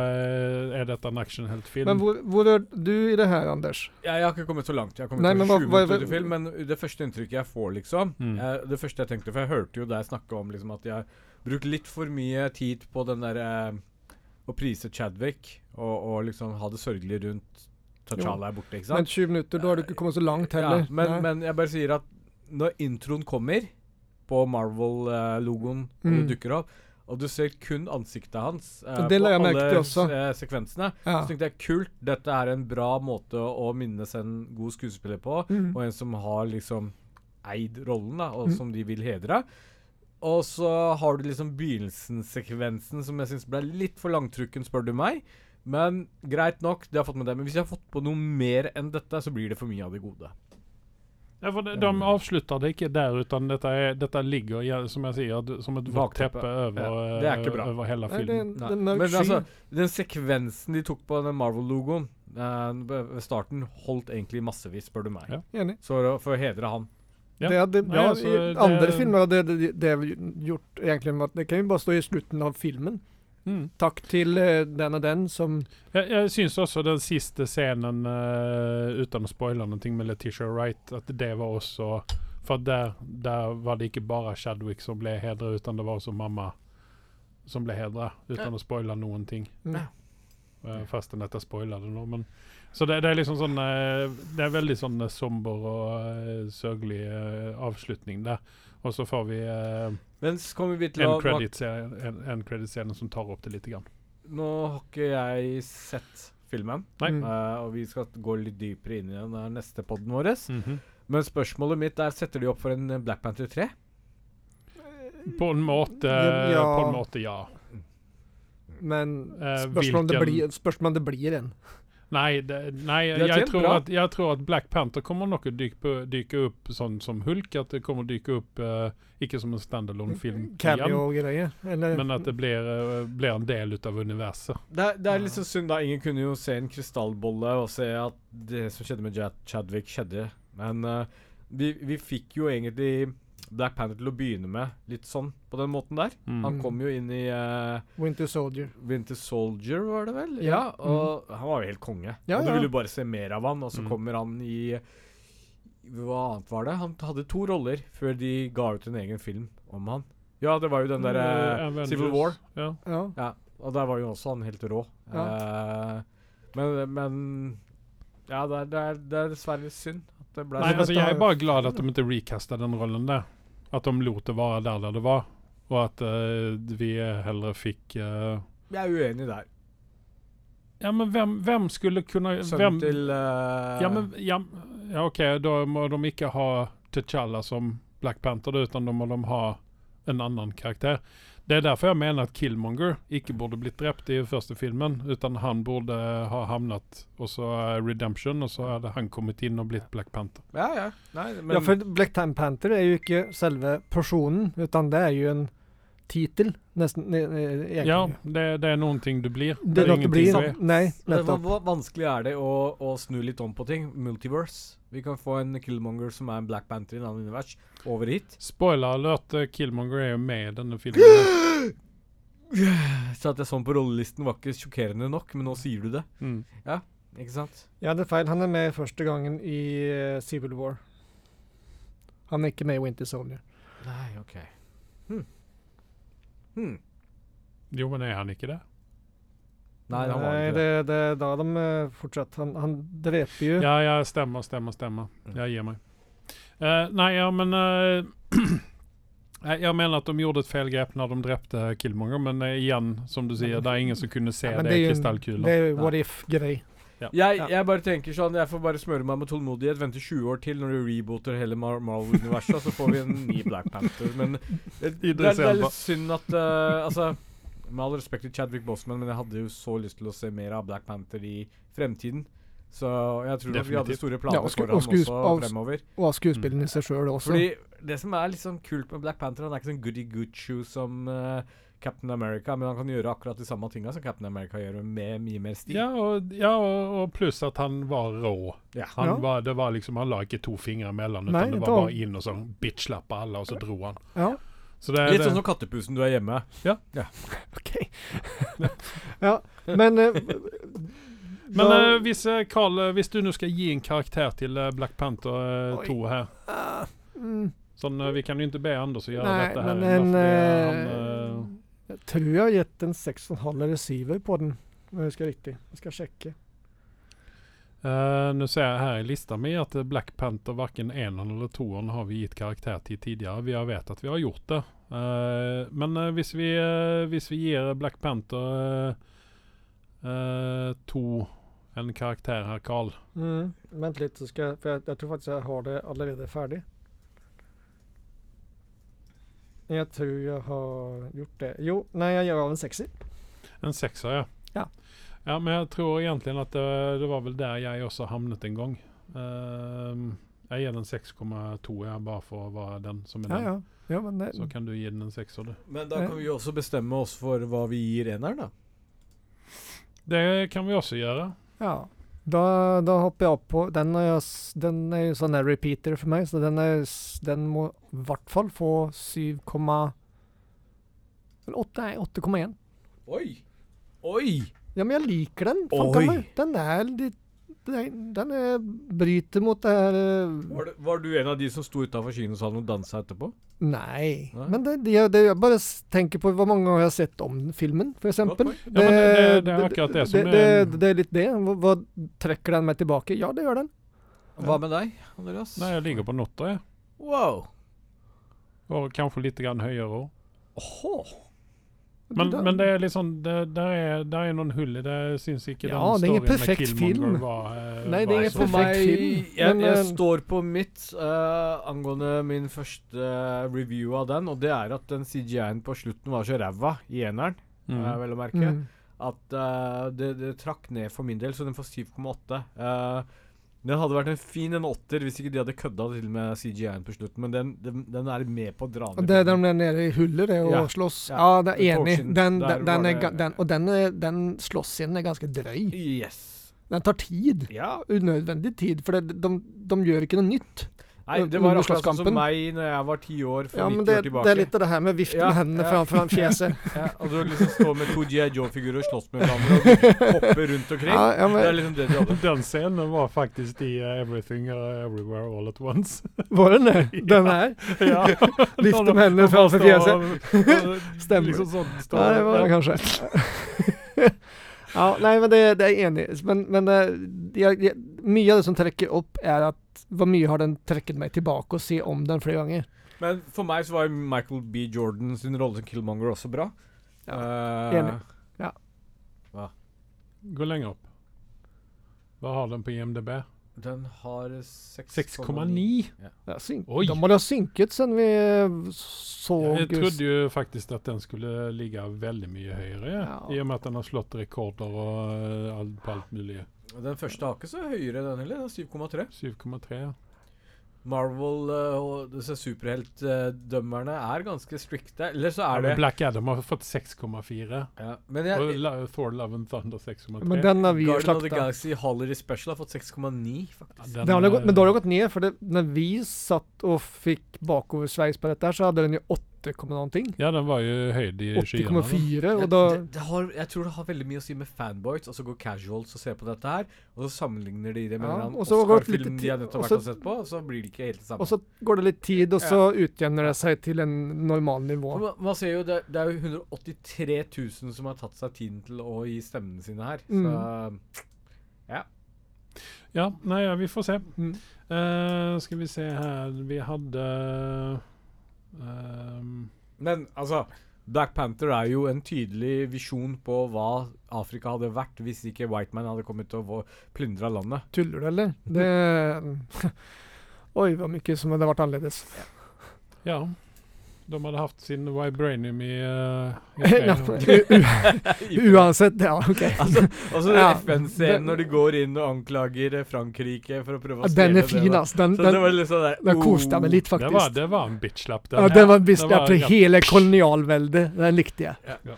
är detta en actionhjältefilm. Men vore- vore du i det här Anders? Jeg, jeg har ikke kommet så langt. Jeg har kommet Nei, til men hva- 20 hva- minutter til film, men det første inntrykket jeg får, liksom Mm. jeg, Det første jeg tenkte, for jeg hørte jo deg snakke om liksom, at jeg har brukt litt for mye tid på den derre Å prise Chadwick og, og liksom ha det sørgelig rundt T'Challa er borte, ikke sant? Eh, Men 20 minuter, då har du inte kommit så långt heller. Ja, men, Nej. men jeg bare sier at når introen kommer på eh, Marvel-logoen, og Mm. det dukker opp, og du ser kun ansiktet hans eh, Og det la jeg merke til s- også. eh, sekvensene, ja. så tenkte jeg kult, dette er en bra måte å minnes en god skuespiller på, Mm. og en som har liksom eid rollen, da, og Mm. som de vil hedre. Og så har du liksom begynnelsen-sekvensen, som jeg syns ble litt for langtrukken, spør du meg. Men greit nok, det har jeg fått med det. Men hvis jeg har fått på noe mer enn dette, så blir det for mye av det gode. Ja, for de, de avslutter det ikke der, utan detta, är, detta ligger ja, som jag säger, som ett vått Baktäppe. täppe över, Ja, det är inte bra. eh, över hela Nej, filmen. det är en, Nei. det är en Men alltså- mörk sky. altså, den sekvensen de tok på den Marvel-logoen eh, ved starten, holdt egentlig massevis, spør du meg. Ja. Enig. Så for å hedre han. Ja. Det hade, Nej, ja, alltså, i det- andra filmer hade det, det, det gjort egentligen att det kan ju bara stå i slutet av filmen. Mm. Takk til eh, den og den som Jeg, jeg syns også den siste scenen, eh, uten å spoile noe med Letitia Wright, at det var også For der, der var det ikke bare Chadwick som ble hedra, utan det var også mamma som ble hedra, uten å spoile noen ting. mm. Eh, Fastän dette spoiler det nå, men Så det, det er liksom sånn eh, Det er veldig sånn eh, somber og eh, sørgelig eh, avslutning der. Og så får vi eh, Men så kommer vi til en å nå, credit-scene en, en credit-scene som tar opp det lite grann. nå har ikke jeg sett filmen, Nei. Mm. eh, og vi skal gå litt dypere inn i den der neste podden vår. Men spørsmålet mitt er setter de opp for en eh, Black Panther 3? På en måte Ja. ja. På en måte, ja. Men Eh, spørsmål om, det hvilken- blir, spørsmål om det blir en. Nei, det, nei Det er jeg, tjent tror bra. at, jeg tror at Black Panther kommer nok å dyke, på, dyke opp sånn som Hulk. At det kommer å dyke opp eh, ikke som en Mm, standalone-film, igjen, Cameo-greie. Eller men at det blir, eh, blir en del ut av universet. Det, er- det er litt så synd, da. Ingen kunne jo se en krystallbolle og se at det som skjedde med Jad Chadwick, skjedde. Men eh, vi, vi fikk jo egentlig Black Panther til å begynne med litt sånn, på den måten der. Mm. Han kom jo inn i eh, Winter Soldier. Winter Soldier, var det vel? Ja. mm. og han var jo helt konge. Ja, og du ja. ville jo bare se mer av han, og så Mm. kommer han i Hva annet var det? Han hadde to roller før de ga ut en egen film om han. Ja, det var jo den derre Mm, Eh, Avengers. Civil War. Alltså, Ja. Ja. Ja, og der var jo også han helt rå. Eh, men, men Ja, det er, det, er, det er dessverre synd at det ble Nei, sånn. altså dette Jeg er- er bare glad at de ikke recasta den rollen der. At de lot det være der der det var. Og at eh, vi heller fikk eh, Jeg er uenig der. Ja, men hvem, hvem skulle kunne Sønnen hvem, til eh, Ja, men ja, ja, OK, da må de ikke ha T'Challa som Black Panther, da, utan da må de ha en annen karakter. Det er derfor jeg mener at Killmonger ikke burde blitt drept i første filmen, utan han burde ha havnet og så eh, Redemption, og så hadde han kommet inn og blitt Black Panther. Ja, ja. Nei, men ja, for Black Time Panther er jo ikke selve personen, utan det er jo en tittel, nesten. ne- ne- egentlig. Ja, det, det er noen ting du blir. eh, Det er noe det ingenting blir. du er. Nei, Men hva- nettopp. hva vanskelig er det å, å snu litt om på ting? Multiverse. Vi kan få en Killmonger som er en Black Panther i en annen univers, over hit. Spoiler alert, eh, Killmonger er jo med i denne filmen. Så at jeg så den på rollelisten var ikke sjokkerende nok, men nå sier du det. Mm. Ikke sant? Ja, det er feil. Han er med første gangen i eh, Civil War. Han er ikke med i Winter Soldier. Nei, OK. Hm. Hm. Jo, men er han ikke det? Nei, han var ikke det. det, det er da de eh, fortsetter. Han, han dreper jo Ja, ja, stemmer, stemmer, stemmer. Jeg gir meg. Eh, nei, ja, men eh, Jeg mener at de gjorde et feil grep når de drepte Killmonger, men eh, igjen, som du sier, det er ingen som kunne se Ja, men det i jo en- Det krystallkula. er jo what if-grei. Jeg, Ja. jeg bare tenker sånn, jeg får bare smøre meg med tålmodighet, vente 20 år til når du rebooter hele Mar Marvel-universet, og så får vi en ny Black Panther. Men det, det, er- det er Elba. litt synd at eh, Altså, med all respekt til Chadwick Boseman, men jeg hadde jo så lyst til å se mer av Black Panther i fremtiden. Så jeg tror nok vi hadde Definitivt. store Ja, planer og sku- for og ham skues- også og- fremover. Og av skuespilleren i Mm. seg sjøl også. Fordi det som er liksom kult med Black Panther, han er ikke sånn goody good shoe som eh, Captain America, men han kan gjøre akkurat de samme tinga som Captain America gjør, med mye mer stil. Ja, og, ja og, og pluss at han var rå. Ja. Han, Ja. var, det var liksom, han la ikke to fingre imellom, Nei, utan det det var var- bare inn og sånn bitchlappa alle, og så dro han. Ja, Så det, Litt det, sånn som kattepusen du er hjemme. OK. ja, men eh, men da- eh, hvis, eh, Carl, eh, hvis du nå skal gi en karakter til eh, Black Panther Oi. 2 her Ah, mm, Sånn, eh, Vi kan jo ikke be Anders å gjøre Nei, dette her. men en, da, fordi eh, han, eh, Jeg tror jeg har gitt en 6,5 eller 7 på den, om jeg husker riktig. Jeg skal sjekke. Eh, nu ser jag här i listan med att eh, Black Panther varken enan eller tvåan har vi gett karaktär till tidigare. Vi har vet att vi har gjort det. Eh, men eh, hvis, vi, eh, hvis vi ger Black Panther eh, eh, to en karaktär här Karl. Mm. Vent litt, så skal jeg, for jeg, jeg tror faktisk jeg har det allerede ferdig. Jeg tror jeg har gjort det. Jo, nei, jeg gjør av en sekser. En sexa ja. Ja. Ja men jag tror egentligen att det, det var väl där jag också hamnat en gång. Eh, jag ger den 6,2 ja, bara för att vara den som är Ja, den. ja. ja men det, Så kan du ge den en sexa du. Men Eh. da kan vi jo også bestemme oss for hva vi gir eneren, da. Det kan vi också göra. ja. Da, da hopper jeg opp på Den er, jo s- den er jo sånn der repeater for meg, så den, er, s- den må i hvert fall få 7,8 Nei, 8,1. Oi! Oi! Ja, men jag liker den. Fan, den, Oj. är- den är lite... Den den är, bryter mot det här... eh, Var, du- var du en av de som sto utafor kinosalen og dansa etterpå? Nej. Nej. Men det, det, det, jag bara s- tänker på vad många gånger jag har sett om filmen, för exempel. Oj. Ja, men det- det- det är akkurat det som det, är- det, det är lite det. Vad, vad träcker den mig tillbaka? Ja, det gör den. Hva med deg, Andreas? Nei, jeg ligger på notter, jeg. Wow! Og kanskje litt grann høyere. også. Åhå. Men, den, men det er liksom det, Der er, der er noen hull i det. Jeg syns ikke Ja, den det er ingen storyen med perfekt Killmonger film. var eh, Nei, det er var ingen så- For perfekt meg film, Jeg, men, jeg eh, står på mitt eh, angående min første review av den, og det er at den CGI-en på slutten var så ræva i eneren, Mm. eh, vel å merke, Mm. at eh, det, det trakk ned for min del, så den får 7,8. Eh, den hadde vært en fin en åtter hvis ikke de hadde kødda til med CGI-en på slutten, men den, den, den er med på å dra Och ned. Det är där filmen. de är nere i huller det och Ja, slåss. ja. Ja, det För ett är tag enig. sedan, Den, den, där den var är, det- ga- den, och den, är, den slåssscenen är ganska dröj. Yes. Den tar tid. Ja. Unödvändig tid, för det, de, de gör inte något nytt. Nei, det Under var akkurat sånn slåsskampen. som meg når jeg var ti år, for Ja, 90 men år det, tilbake. det är lite det här med vift med Ja, händerna ja. framför fjäsen. Ja, og du liksom står med to G.I. Joe-figurer og slåss med hverandre og hopper rundt omkring. ja, ja, Det er men, liksom det de hadde. Den scenen var faktisk i eh, 'Everything uh, Everywhere All At Once'. var den det? Den här? ja. Lyfte med händerna framför fjäsen. Stämmer. Liksom sånt står Ja, det var det det. kanske. ja, nej men det, det är enig. Men, men eh, jag, jag, mycket av det som träcker upp är att vad mycket har den träckt mig tillbaka och se om den flera gånger. Men for meg så var jo Michael B. Jordan sin rolle som Killmonger også bra. Ja, Eh, enig. Ja. Gå lenger opp. Hva har den på IMDb? Den har 6,9. 6,9. Ja, syn- Oj. De måste ha synkat sen vi eh, såg Jeg just- trodde jo faktisk at den skulle ligge veldig mye høyere, Ja. i og med at den har slått rekorder og eh, alt, på alt mulig. Den første har ikke så høyere, den heller. Den er 7,3. 7,3. Marvel eh, og disse eh, superheltdømmerne er ganske strikte. Eller så Ja, er men det Black Adam har fått 6,4. ja, Men Og jeg, La- Thor Love and Thunder 6,3. Men den har vi ju Guardian of the slaktat. Galaxy Holiday Special har fått 6,9, faktisk. Ja, den eh, Den har det er- gått, men då har det gått ner för det, när vi satt och fick bakover Sverigesbalett där så hade den ju 80, komma någonting. Ja, den var jo høyd i skyene. den. 80,4 Ja, och då... det, det har, jeg tror det har veldig mye å si med fanboys, altså går casuals og ser på dette her, og så sammenligner de det med Ja, en eller annen og så går det litt Oscar-film de tid- er nødt til å og ha vært så- og sett på, og så blir det ikke helt det samme. Och så går det lite tid och så utjämnar det sig till en normal For nivå. man, man ser jo, det, det er jo 183 000 som har tatt seg tiden til å gi stemmene sine her, så Mm. Ja, nei, ja, vi får se. Mm. Eh, skal vi se her Vi hadde ehm, Men altså, Black Panther er jo en tydelig visjon på hva Afrika hadde vært hvis ikke White Man hadde kommet og plyndra landet. Tullar du eller? Det... Oj, vad mycket som hade varit anledes. Ja. De hadde hatt sin vibranium i, eh, i Ja, Ukraina. u- u- Oavsett, ja okej. Altså, altså Ja, FN-scenen den- når de går inn og anklager Frankrike for å prøve å Ja, Den är stjele det, fin da. alltså. Den, Så det var den, litt sånn der den kostar mig lite Oh, Det faktiskt. var, det var en bitch-lapp, den. Ja, den var Det visst var for rett- hele kolonialveldet. Den likte jeg.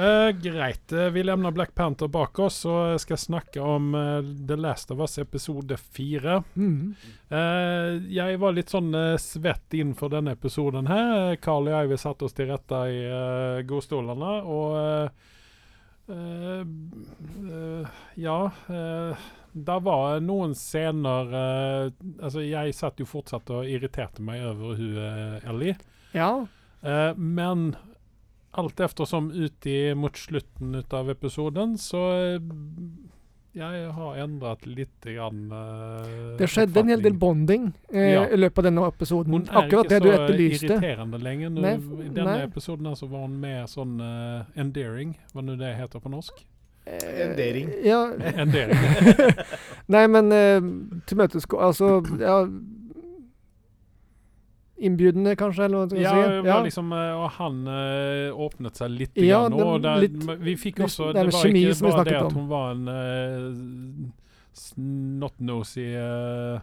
Eh, greit, eh, vi lämnar Black Panther bak oss och ska snacka om eh, The Last of Us episode 4. Mm. Eh, jeg var litt sånn eh, svett innenfor denne episoden her. Carl og jeg vi satte oss til rette i eh, godstolene, og eh, eh, eh, Ja. Eh, der var noen scener eh, Altså, jeg satt jo fortsatt og irriterte meg over hun eh, Ellie. Ja. Eh, men alt eftersom uti mot slutten av episoden, så eh, jeg har endret litt grann eh, Det skjedde en hel del oppfatning. bonding eh, Ja. i løpet av denne episoden. Hun er Akkurat det ikke du så etterlyste. irriterende lenger. Nå, Nei, I denne nei. episoden her så var hun mer sånn eh, endearing, hva nå det heter på norsk. Rendering. Eh, Ja. Endearing. Nei, men eh, tilmøtesgå Altså, ja Innbydende, kanskje, eller hva man skal ja, si. det var liksom, eh, og han eh, åpnet seg litt. Ja, grann, og den- der, litt- men vi fikk litt- også det Det er med var kjemi ikke som vi bare det snakket at om. hun var en uh, snot-nosy eh,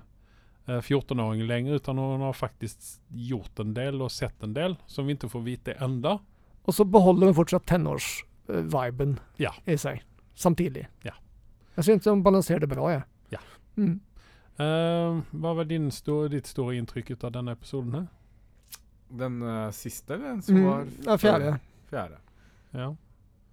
eh, 14-åring lenger, utan hun har faktisk gjort en del og sett en del som vi ikke får vite enda. Og så beholder hun fortsatt tenårsviben eh, Ja. i seg, samtidig. Ja. Jeg syns hun balanserer det bra, jeg. Ja. Mm. Eh, hva var din sto- ditt store inntrykk ut av denne episoden? her? Den "Oh, eh, siste, eller den som Mm. var Ja, fjerde. fjerde? Ja.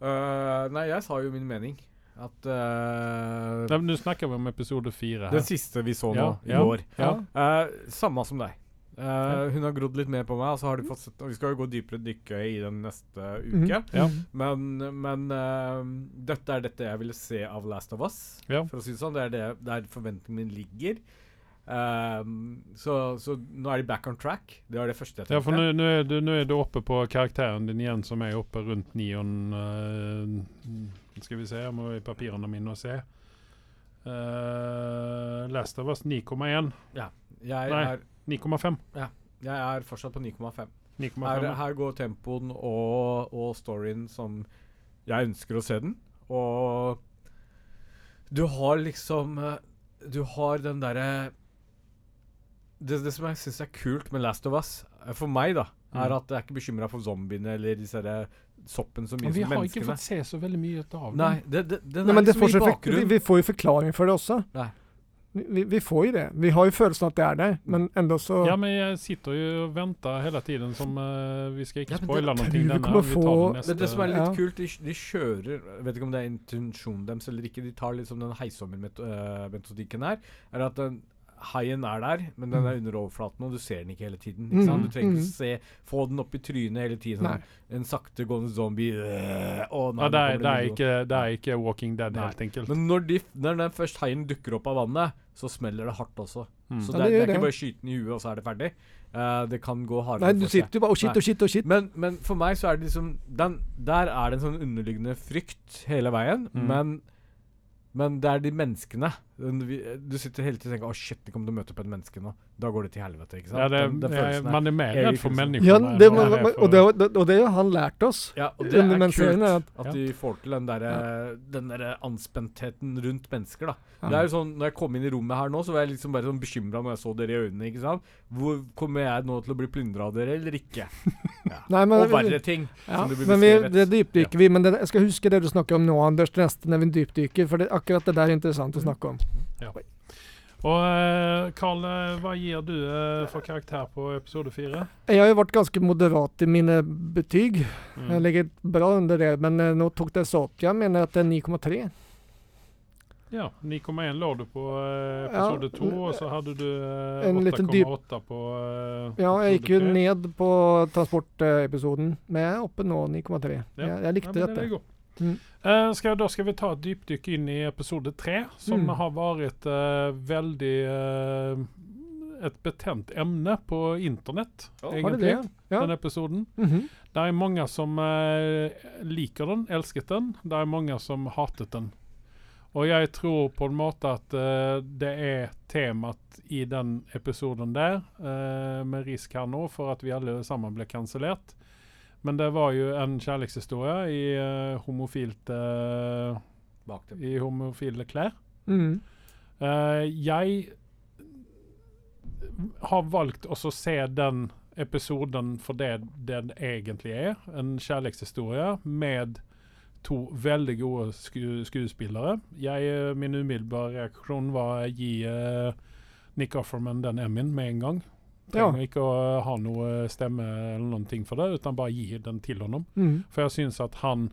Eh, nei, jeg sa jo min mening. At eh, Nei, men Nå snakker vi om episode fire her. Den siste vi så nå, Ja, i ja. går. Ja. Eh, samme som deg. Eh, Hun har grodd litt mer på meg, og så har du fått sett Og vi skal jo gå dypere dykke i den neste Mm. uke. Mhm. Ja. Men, men eh, dette er dette jeg ville se av Last of Us. Ja. For å si det sånn, det er det, der forventningen min ligger. Eh, så, så nå er de back on track. Det var det første jeg tenkte. Ja, for nå, nå, er du, nå er du oppe på karakteren din igjen, som er oppe rundt nion eh, Skal vi se, jeg må i papirene mine og se. Eh, Last of us 9,1. jeg, Nei. er, 9,5. jeg er fortsatt på 9,5. 9,5. Her, her går tempoen og, og storyen som jeg ønsker å se den. Og du har liksom eh, Du har den derre det, det som jeg syns er kult med Last of Us, eh, for meg, da, er Mm. at jeg er ikke bekymra for zombiene eller disse der soppen så mye Vi som har ikke menneskene. fått se så veldig mye ut av den. Nei, det, det, den Nei, er men det liksom får i så effekt- vi, bakgrunnen. vi får ju förklaring för det också. Nej. Vi- Vi, vi får ju det. Vi har ju känslan att det är där, Mm. men ändå så... Ja, men jeg sitter jo og venter hele tiden som eh, Vi skal Ja, ikke men spoile det- noe. tror du Denne, kommer vi tar få- den neste. Men det som er litt Ja. kult, de, kj- de kjører jeg Vet ikke om det er intensjonen deres eller ikke. De tar liksom den eh, heisommermetodikken her. Er at den haien er der, men den er under overflaten, og du ser den ikke hele tiden. Ikke sant? Mm, Du trenger mm. ikke se få den opp i trynet hele tiden. Nei. Sånn, en saktegående zombie øh, å, nei, ja, nå det, kommer er, det, er en zombie. ikke, det er ikke eh, Walking Dead, Nei. helt enkelt. Men når, de, når den først haien dukker opp av vannet, så smeller det hardt også. Mm. Så Ja, det, det er- det gjør er det. ikke bare skyten i huet, og så er det ferdig. Eh, det kan gå hardere Nej, du for seg. sitter ju bara och shit Nej. och shit och shit. Men, men for meg så er det liksom den, Der er det en sånn underliggende frykt hele veien, Mm. men men det er de menneskene. Den, vi, du sitter hele tiden og tenker 'Å, shit, vi kommer til å møte opp et menneske nå'. Da går det til helvete, ikke sant? ja, det, Den- den jeg, følelsen her. man er mer Erik redd for Olsen. menneskene. Ja, enn det, man men, er men, for- och, det, har- det- och det har han lärt oss. Ja, og det Under er menneskene, kult ja. at Ja. de får til den derre Den derre anspentheten rundt mennesker, da. Ja. Det er jo sånn, når jeg kom inn i rommet her nå, så var jeg liksom bare sånn bekymra når jeg så dere i øynene, ikke sant. Hvor Kommer jeg nå til å bli plyndra av dere, eller ikke? Ja. Nej, men, og verre ting, Ja, som det blir men vi, beskrevet. det dypdyker vi, men det, jag ska huska det du snackade om nu Anders, till nästa när vi dypdyker, för det, akkurat det där är intressant att Mm. snacka om. Og eh, Carl, eh, hva gir du eh, for karakter på episode fire? Jag har ju varit ganska moderat i mina betyg. Mm. Jag ligger bra under det, men eh, nog tog det så upp. Jag menar att det är 9,3. Ja, 9,1 la du på eh, Ja, episode to, og så hadde du eh, en liten dyp- 8,8 på eh, Ja, jeg gikk jo episode tre. ned på transportepisoden, men jeg er oppe nå 9,3. Ja. Jeg, jeg Ja, likte men den dette. är god. Mm. Eh, ska, då ska vi ta ett djupdyk in i episode 3 som Mm. har varit eh, väldigt eh, ett betänt ämne på internet. Ja, har egentlig, Var det det? Ja. Den episoden. Mhm. Det är många som eh, liker den, älskat den. Det är många som hatat den. Och jag tror på en måte att eh, det är temat i den episoden där. Eh, med risk här nu för att vi allesammans blev cancellerat. Men det var ju en kärlekshistoria i eh, homofilt eh, bak det. i homofile klær. Mm. Eh, jeg har valgt også å se den episoden for det den egentlig er, en kjærlighetshistorie med to veldig gode sku skuespillere. Jeg, eh, min umiddelbare reaksjon var å gi eh, Nick Offerman den Emmyen med en gang. Ja. Trenger ikke å ha noe stemme eller noen ting for det, utan bare gi den til honom. Mm. For jeg syns at han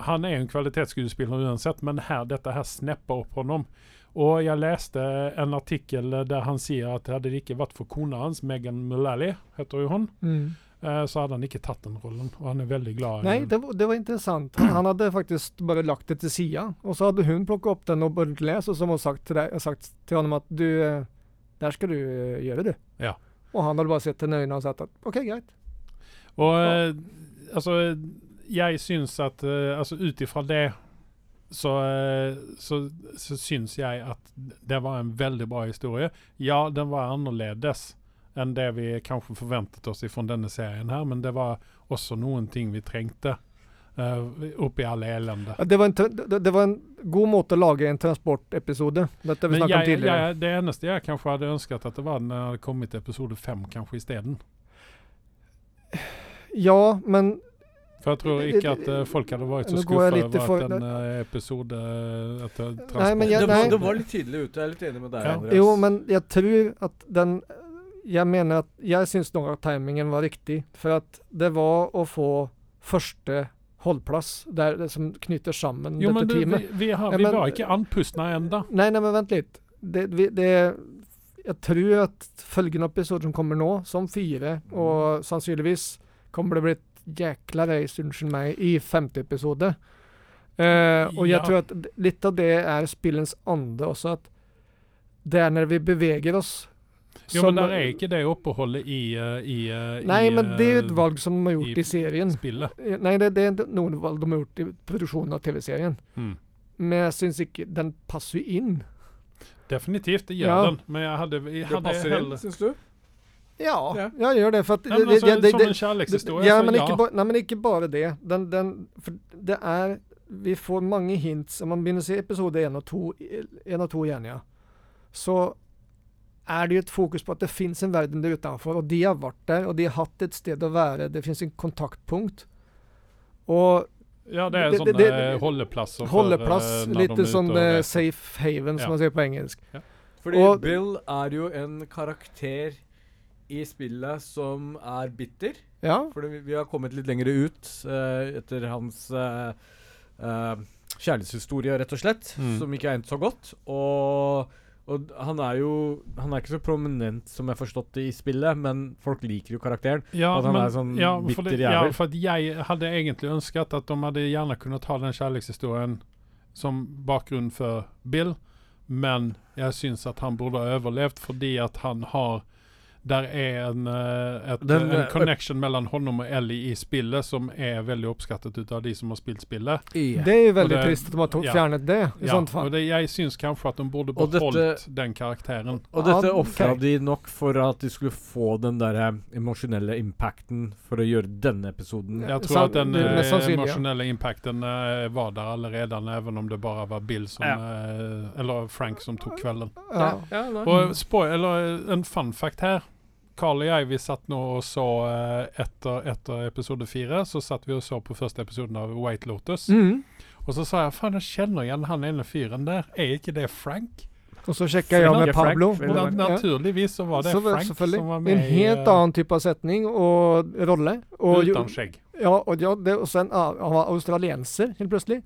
Han er en kvalitetsskuespiller uansett, men her, dette her snepper opp honom. Og jeg leste en artikkel der han sier at hadde det ikke vært for kona hans, Megan Mullally, heter jo hun, Mm. eh, så hadde han ikke tatt den rollen. Og han er veldig glad i Nei, den. det, var- det var intressant. Han, han hade faktiskt bara lagt det till sida och så hade hon plockat upp den och börjat läsa och som hon sagt till, dig, sagt till honom att du, eh, där ska du eh, göra det. Ja. Och han hade bara sett henne i ögonen och sagt att okej, greit. Og eh, altså Jeg syns at eh, Altså ut ifra det så, eh, så, så syns jeg at det var en veldig bra historie. Ja, den var annerledes enn det vi kanskje forventet oss fra denne serien her, men det var også noen ting vi trengte eh, oppi alle elendet. Ja, Det var en, tra- det, det var en god måte att laga en transportepisode. Detta vi Men snackade om jeg, tidigare. jeg, det eneste jeg kanskje hadde ønsket at det var når det hadde kommet til episode fem, kanskje isteden. Ja, men For jeg tror ikke at eh, folk hadde vært så Nå går jeg skuffa litt i over for- at en eh, episode at det- Nei, men jeg- det, transport- var, nei. det var litt tydelig ute. Jeg er litt enig med deg, Ja. Andreas. Jo, men jag tror att den... Jag menar att jag syns nog att tajmingen var riktig. För att det var att få första hållplats där, det som knyter samman Jo, dette men du, teamet. vi, vi, har, Ja, vi men- var ikke andpustne enda. Nei, nei, men vent litt. Det, vi, det, jeg tror at følgende episode som kommer nå, som fire, Mm. og sannsynligvis kommer det bli et jækla race, unnskyld meg, i femte episode. Eh, og jeg Ja. tror at d- litt av det er spillens ande også, at det er når vi beveger oss Jo, som- men der er ikke det oppholdet i, eh, i, eh, i Nei, men det er jo et eh, valg som de har gjort i- i, serien. Spillet. Eh, Nei, det, det er noen valg de har gjort i produksjonen av TV-serien. Mm. Men jeg syns ikke Den passer jo inn. Definitivt, det gjør Ja. den. Men jeg hadde, jeg Det hadde passer inn, heller syns du? Ja, Ja. jeg gjør det. For at Nei, men altså, Som en kjærlighetshistorie, ja, så men ja. ikke, ba, nei, men ikke bare det. Den, den, for det er Vi får mange hints. Om man begynner å se episode én og to en og to igjen, ja, så er det jo et fokus på at det fins en verden der utenfor, og de har vært der, og de har hatt et sted å være. Det fins en kontaktpunkt. Og ja, det er det- det- sånne det- holdeplasser. for, holdeplass, eh, når de er litt ute sånn og eh, reiser. safe haven, Ja. som man sier på engelsk. Fordi Og- Bill er jo en karakter i spillet som er bitter. Ja. Fordi vi, vi har kommet litt lenger ut eh, etter hans eh, eh, kjærlighetshistorie, rett og slett, Mm. som ikke har endt så godt. Og, og han er jo Han er ikke så prominent som jeg har forstått det i spillet, men folk liker jo karakteren. Ja, At han er sånn for bitter det, jævel. Ja, for at jeg hadde egentlig ønsket at de hadde gjerne kunnet ha den kjærlighetshistorien som bakgrunn for Bill, men jeg syns at han burde ha overlevd fordi at han har der er en, eh, et, Den, en eh, connection mellom honom og Ellie i spillet som er veldig oppskattet ut av de som har spilt spillet. Det er jo Og veldig det- trist at de har to- ja. fjernet det, i Ja, sånt fall. og det, jeg syns kanskje at de burde Og dette- beholdt den karakteren. Og Ja, dette ofra ok. de nok for at de skulle få den der eh, emosjonelle impacten for å gjøre denne episoden. Jeg tror Sam- at den det er mest eh, sannsynlig, ja. emosjonelle impacten eh, var der allerede, even om det bare var Bill som Ja. eh, Eller Frank som tok kvelden. Ja. nei. eh, Og spo- eller eh, en fun fact her. Carl og jeg vi satt nå og så eh, etter, etter episode fire. Så satt vi og så på første episoden av White Lotus. Mm. Og så sa jeg faen, jeg kjenner igjen han ene fyren der. Er ikke det Frank? Og så sjekka jeg Frank med er Frank, Pablo. vel å Na merke. Ja. naturligvis så var det Så var- Frank selvfølgelig. som var en med eh, helt annen type av setning og rolle. Og, og, jo- Utan skjegg. ja, og, ja, det, og sen, ah, han var australienser, helt plutselig.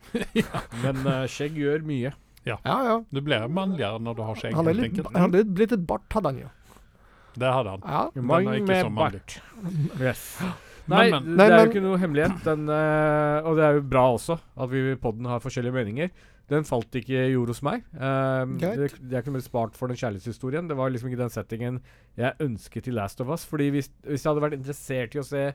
Men eh, skjegg gjør mye. Ja, ja. Du blir mannligere når du har skjegg. Han hadde helt litt, enkelt. han hadde litt- litt bart, hadde han jo. Det hadde han. Ja. Den er ikke så mannlig. Yes. Men, Nei, men. det Nei, er jo men- ikke noe hemmelighet. Den, eh, og det er jo bra også, at vi i podden har forskjellige meninger. Den falt ikke i jord hos meg. Um, Greit. det, jeg kunne blitt spart for den kjærlighetshistorien. Det var liksom ikke den settingen jeg ønsket i Last of Us. Fordi hvis, hvis jeg hadde vært interessert i å se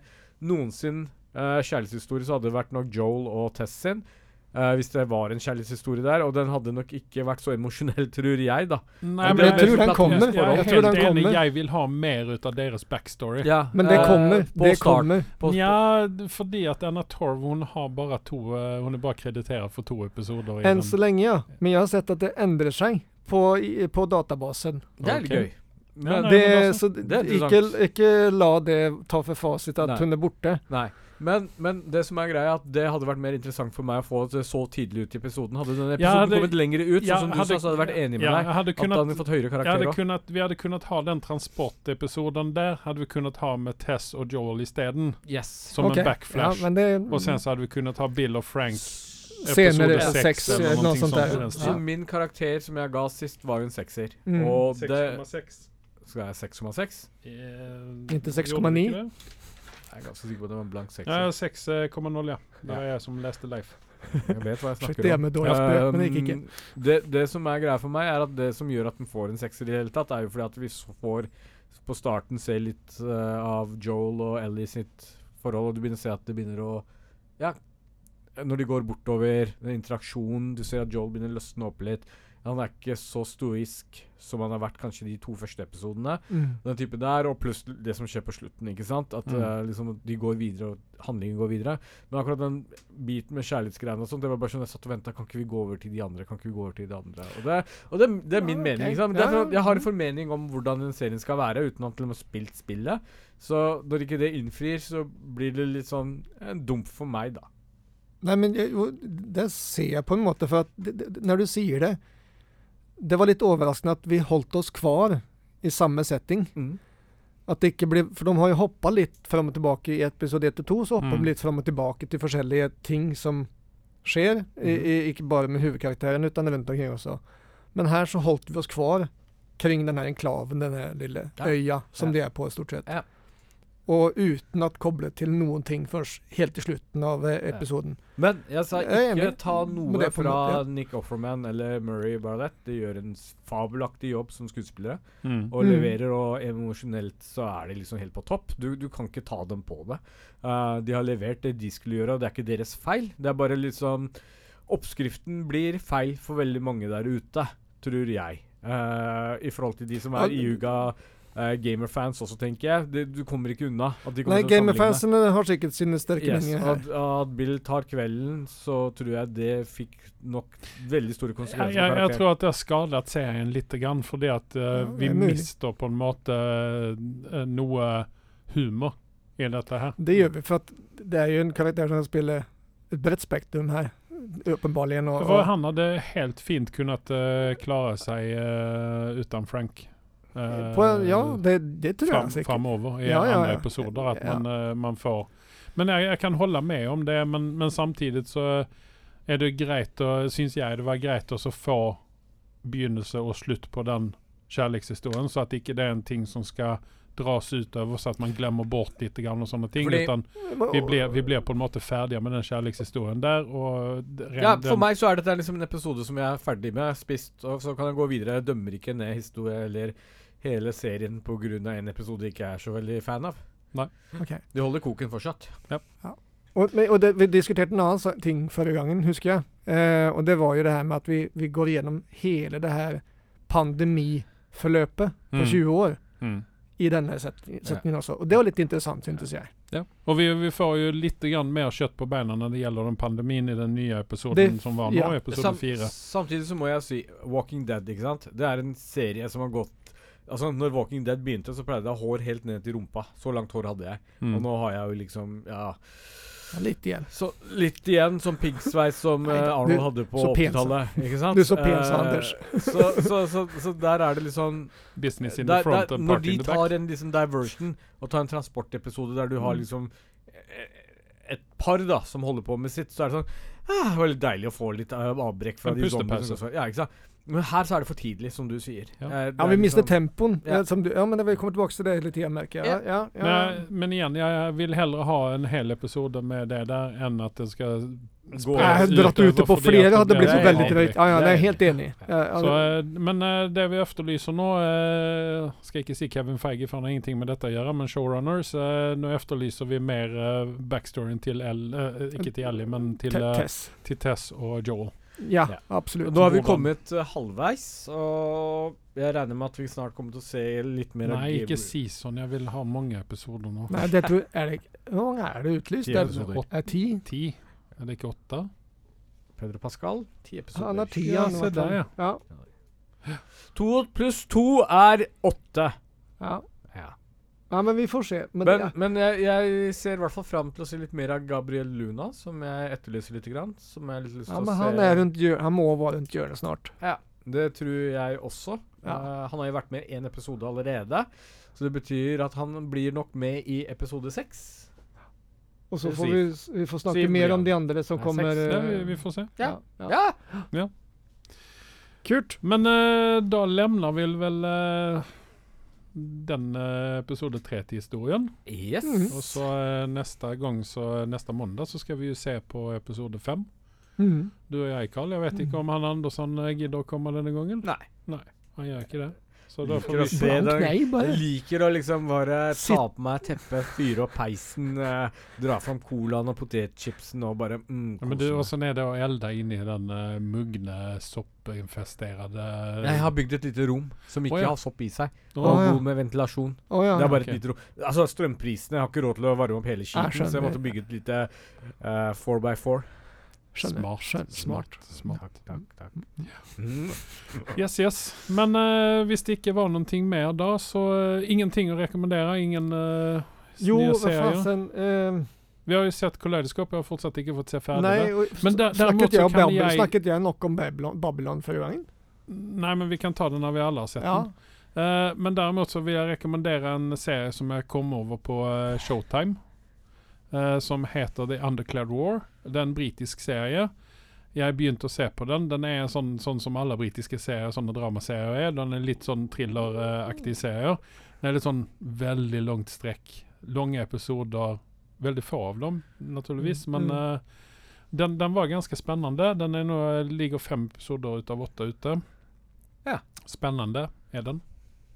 noensinne eh, kjærlighetshistorie, så hadde det vært nok Joel og Tess sin. Eh, hvis det var en kjærlighetshistorie der. Og den hadde nok ikke vært så emosjonell, tror jeg, da. Nei, Jeg men tror det- den jeg- kommer. Jeg er Jeg tror helt den enig. kommer. Jeg vil ha mer ut av deres backstory. Ja, Men det eh, kommer. på det start- kommer. på- Ja, d- fordi at Anna Torv hun har bare to eh, Hun er bare kreditert for to episoder. I Enn den. så lenge, ja. Men jeg har sett at det endrer seg på, i, på databasen. Det er litt Ok. gøy. Ja, nei, men Det, altså, så det er ikke, ikke la det ta for fasit at Nei. hun er borte. Nei. Men, men det som er greia er at det hadde vært mer interessant for meg å få det så tidlig ut i episoden. Hadde denne episoden Ja, det- kommet lenger ut, ja, sånn som du sa, så hadde jeg vært enig med ja, deg. jeg Hadde At da kunnat, hadde vi fått høyere jeg hadde karakter òg. kunnat, vi hadde kunnet ha den transportepisoden der, hadde vi kunnet ha med Tess og Joel isteden, Yes. som Ok. en backflash. Ja, men det, og sen så hadde vi kunnet ha Bill og Frank Senere, episode seks, eller eller noe någonting eh, sånt sånt der. i den Så stilen. min karakter som jeg ga sist, var jo en sekser. Mm. Og det 6,6. Skal jeg 6,6? Eh, Inte gjorde 6,9? vi ikke det? Jeg er ganske sikker på at det var en blank sekser. Ja, 6,0, Liksom. ja. Det var jeg som leste Leif. Jeg vet hva jeg Slutt snakker det om. med dårlig spøk, men det gikk ikke. Um, det, det som er greia for meg, er at det som gjør at den får en sekser i det hele tatt, er jo fordi at vi s- får på starten se litt eh, av Joel og Ellie sitt forhold, og du begynner å se at det begynner å Ja, når de går bortover, den interaksjonen, du ser at Joel begynner å løsne opp litt. Han er ikke så stoisk som han har vært kanskje de to første episodene. Mm. Den type der, og pluss det som skjer på slutten. ikke sant? At Mm. eh, liksom, de går videre, og handlingen går videre. Men akkurat den biten med kjærlighetsgreiene og sånt, det var bare sånn jeg satt og venta. Kan ikke vi gå over til de andre? Kan ikke vi gå over til de andre? Og det, og det, det er min Ja, ok. mening. ikke sant? Men det er Ja, mm. for, at jeg ja. har en formening om hvordan den serien skal være, uten at de har spilt spillet. Så når ikke det innfrir, så blir det litt sånn en dump for meg, da. Nei, men jeg, jo, det ser jeg på en måte, for at det, det, når du sier det Mm. Det var litt overraskende at vi holdt oss kvar i samme setting. At det ikke blir, for de har jo hoppa litt fram og tilbake i episode 1 og 2. Så hopper Mm. de litt fram og tilbake til forskjellige ting som skjer. I, Mhm. i, ikke bare med hovedkarakteren, men rundt omkring også. Men her så holdt vi oss kvar kring den her enklaven, den her lille Ja. øya som Ja. de er på, stort sett. Ja. Og uten å koble til noen ting først, helt til slutten av eh, episoden. Men jeg sa Jeg er ikke enig, ta men noe det er på en fra måte- Nick Offerman eller Murray Barlett. De gjør en s- fabelaktig jobb som skuespillere Mm. og Mm. leverer, og emosjonelt så er de liksom helt på topp. Du, du kan ikke ta dem på det. Eh, de har levert det de skulle gjøre, og det er ikke deres feil. Det er bare liksom Oppskriften blir feil for veldig mange der ute, tror jeg. Eh, I forhold til de som er Ja, iuga eh, gamerfans også, tenker jeg. Det, du kommer ikke unna. At de kommer Nei, til å sammenligne. gamerfansene har sikkert sine sterke Yes, meninger her. at, at Bill tar kvelden, så tror jeg det fikk nok veldig store Jeg, konsekvenser. jeg, for jeg karakteren. tror at det har skadet serien litt, grann, fordi at eh, Ja, vi det er mulig. mister på en måte eh, noe humor i dette her. Det gjør vi, for at det er jo en karakter som spiller et bredt spektrum her, åpenbarlig. Og, For og, han hadde helt fint kunnet eh, klare seg eh, uten Frank. eh, på, ja, det, det tror fram, jeg sikkert. framover i Ja, ja, andra ja. episoder. Att Ja. man, eh, man får. Men jag, jag kan hålla med om det, men, men samtidigt så är det grejt, och syns jag det var grejt att så få begynnelse och slut på den kärlekshistorien så att det inte är en ting som ska dras ut över så att man glömmer bort lite grann och sådana ting. För det- utan vi blir, vi blir på en måte färdiga med den kärlekshistorien där. Och d- ren- ja, den- For meg så er dette liksom en episode som jeg er ferdig med, jeg har spist, og så kan jeg gå videre. Jeg dømmer ikke ned historie eller hele serien pga. en episode jeg ikke er så veldig fan av. Ok. De holder koken fortsatt. Og, men- og det, vi diskuterte en annen sa- ting forrige gangen, husker jeg. Eh, og det var jo det her med at vi, vi går gjennom hele det her pandemiforløpet på Mm. 20 år Mm. i denne setning- setningen også. Og det var litt interessant, syntes jeg. Ja. Och vi, vi får ju lite grann mer kött på benen när det gäller den pandemin i den nya episoden Det- som var nu, ja. episode 4. samtidig så må jeg si Walking Dead, ikke sant. Det er en serie som har gått Altså, når Walking Dead begynte, så pleide jeg å ha hår helt ned til rumpa. Så langt hår hadde jeg. Mm. Og nå har jeg jo liksom Ja. Ja, Litt igjen. Så litt igjen som piggsveis som Nei, eh, du- Arnold hadde på så pen sa- 80-tallet. Ikke sant? Du så pen sa, Eh, Anders. så, så, så, så der er det litt sånn Business in der- the front der, and Når party de in the back. tar en liksom diversion og tar en transportepisode der du Mm. har liksom eh, et par da som holder på med sitt, så er det sånn ah, Det var litt deilig å få litt eh, avbrekk fra En de zombiene. pustepause. som- Ja, ikke sant? Men her så er det for tidlig, som du sier. Ja. Eh, det Ja, er vi mistet liksom- tempoen. Ja. Ja. Som du, ja, men vi kommer tilbake til det litt igjen, merker jeg. Ja, ja, ja. Nej, men igen, jag vill hellre ha en hel episod med det där än att det ska Gå- Jeg har spredas dratt över ut det på fordi flere, att hadde det blitt blir Nej, ett veldig nej, avbrekk. drøyt. Ja, ja, det er nej. jeg helt enig. i. Ja, ja, Så, eh, men eh, det vi efterlyser nå eh, Skal ikke si Kevin Feige, for han har ingenting med dette å gjøre, men showrunners eh, Nå efterlyser vi mer eh, backstoryen til L, eh, ikke til Ellie, men til, te- eh, Tess. til Tess og Joel. Ja, Ja. absolutt. Nå har vi Hvordan? kommet eh, halvveis, og jeg regner med at vi snart kommer til å se litt mer Nei, ikke Gabriel. season. Jeg vil ha mange episoder nå. Nei, det tror er det, Hvor mange er det utlyst? Ti Det er, episoder. er ti? Ti? Er det ikke åtte? Pedro Pascal, ti Han episoder. har ti, Ja, han, i se hvert fall. der, ja. ja. To pluss to er åtte. Ja. Ja. ja, men vi får se. Men, Men, ja. men jeg, jeg ser i hvert fall fram til å se litt mer av Gabriel Luna, som jeg etterlyser litt. Grann, som jeg har litt lyst ja, til men å han, se. er rundt hjør- han må være rundt hjørnet snart. Ja, det tror jeg også. Ja. Eh, han har jo vært med i én episode allerede, så det betyr at han blir nok med i episode seks. Og så Det får sier- vi, s- vi får snakke sier mer Brian. om de andre som Nei, kommer. seks. Ja, eh, vi, vi får se. Ja. ja. Ja! Kult. Men eh, da lämnar vi väl eh, den eh, episode 3 till historien. Yes. Mhm. Och så eh, nästa gång, så eh, nästa måndag så ska vi ju se på episode 5. Mm. Du och jag Karl, jag vet inte om han Andersson eh, gidder att komma denna gången. Nei. Han gör inte det. Så då får Gidder vi att se. se. Blank den- nei, bare. Jeg liker å liksom bare Sitt- ta på meg teppet, fyre opp peisen, eh, dra fram colaen og potetchipsen og bare mm, Ja, men du, kose meg. och sen är det att elda in i den uh, mugne, soppinfesterade... Jeg har bygd et lite rom som ikke Å, ja. har sopp i seg, og Åh, ja. god med ventilasjon. Å ja. Ah, Det er ok. bare et lite rom. Altså, strømprisene Jeg har ikke råd til å varme opp hele skiten, skjønner. så jeg måtte bygge et lite eh, 4x4. Skjønner. smart, Skjønner. smart, smart. Takk, takk, takk. Mm. Yes, yes. Men eh, hvis det ikke var någonting mer da, så eh, ingenting å rekommendere. Ingen eh, Jo, nye hva serier. fasen eh, Vi har jo sett Kaleidoskop, jeg har fortsatt ikke fått se ferdig Nei, det. og, Men der- derimot snakket, så jeg om kan Babylon, jeg- snakket jeg nok om Babylon, Babylon forrige gangen? Nei, men vi kan ta det når vi alle har sett Ja. den. Eh, men däremot så vill jag rekommendera en serie som jag kom över på eh, Showtime. eh, som heter The Underclad War. Det er en britisk serie. Jeg begynte å se på den. Den er en sånn, sånn som alle britiske serier, sånne dramaserier er. Den er litt sånn thrilleraktig serie. Den er litt sånn veldig langt strekk. Lange episoder. Veldig få av dem, naturligvis. Men eh, den, den var ganske spennende. Den er nå, ligger fem episoder ut av åtte ute. Ja. Spennende er den.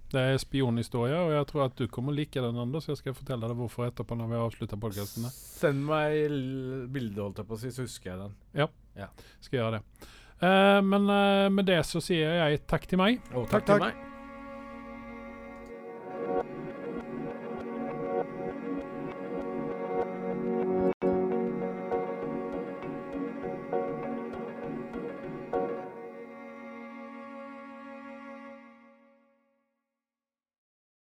Det er spionhistorie, og jeg tror at du kommer like den, Anders. Jeg skal fortelle deg hvorfor etterpå når vi avslutter podkasten. Send meg l- bildet, holdt jeg på å si, så husker jeg den. skal gjøre det. Eh, men eh, med det så sier jeg takk til meg. Og Takk, takk til takk. meg.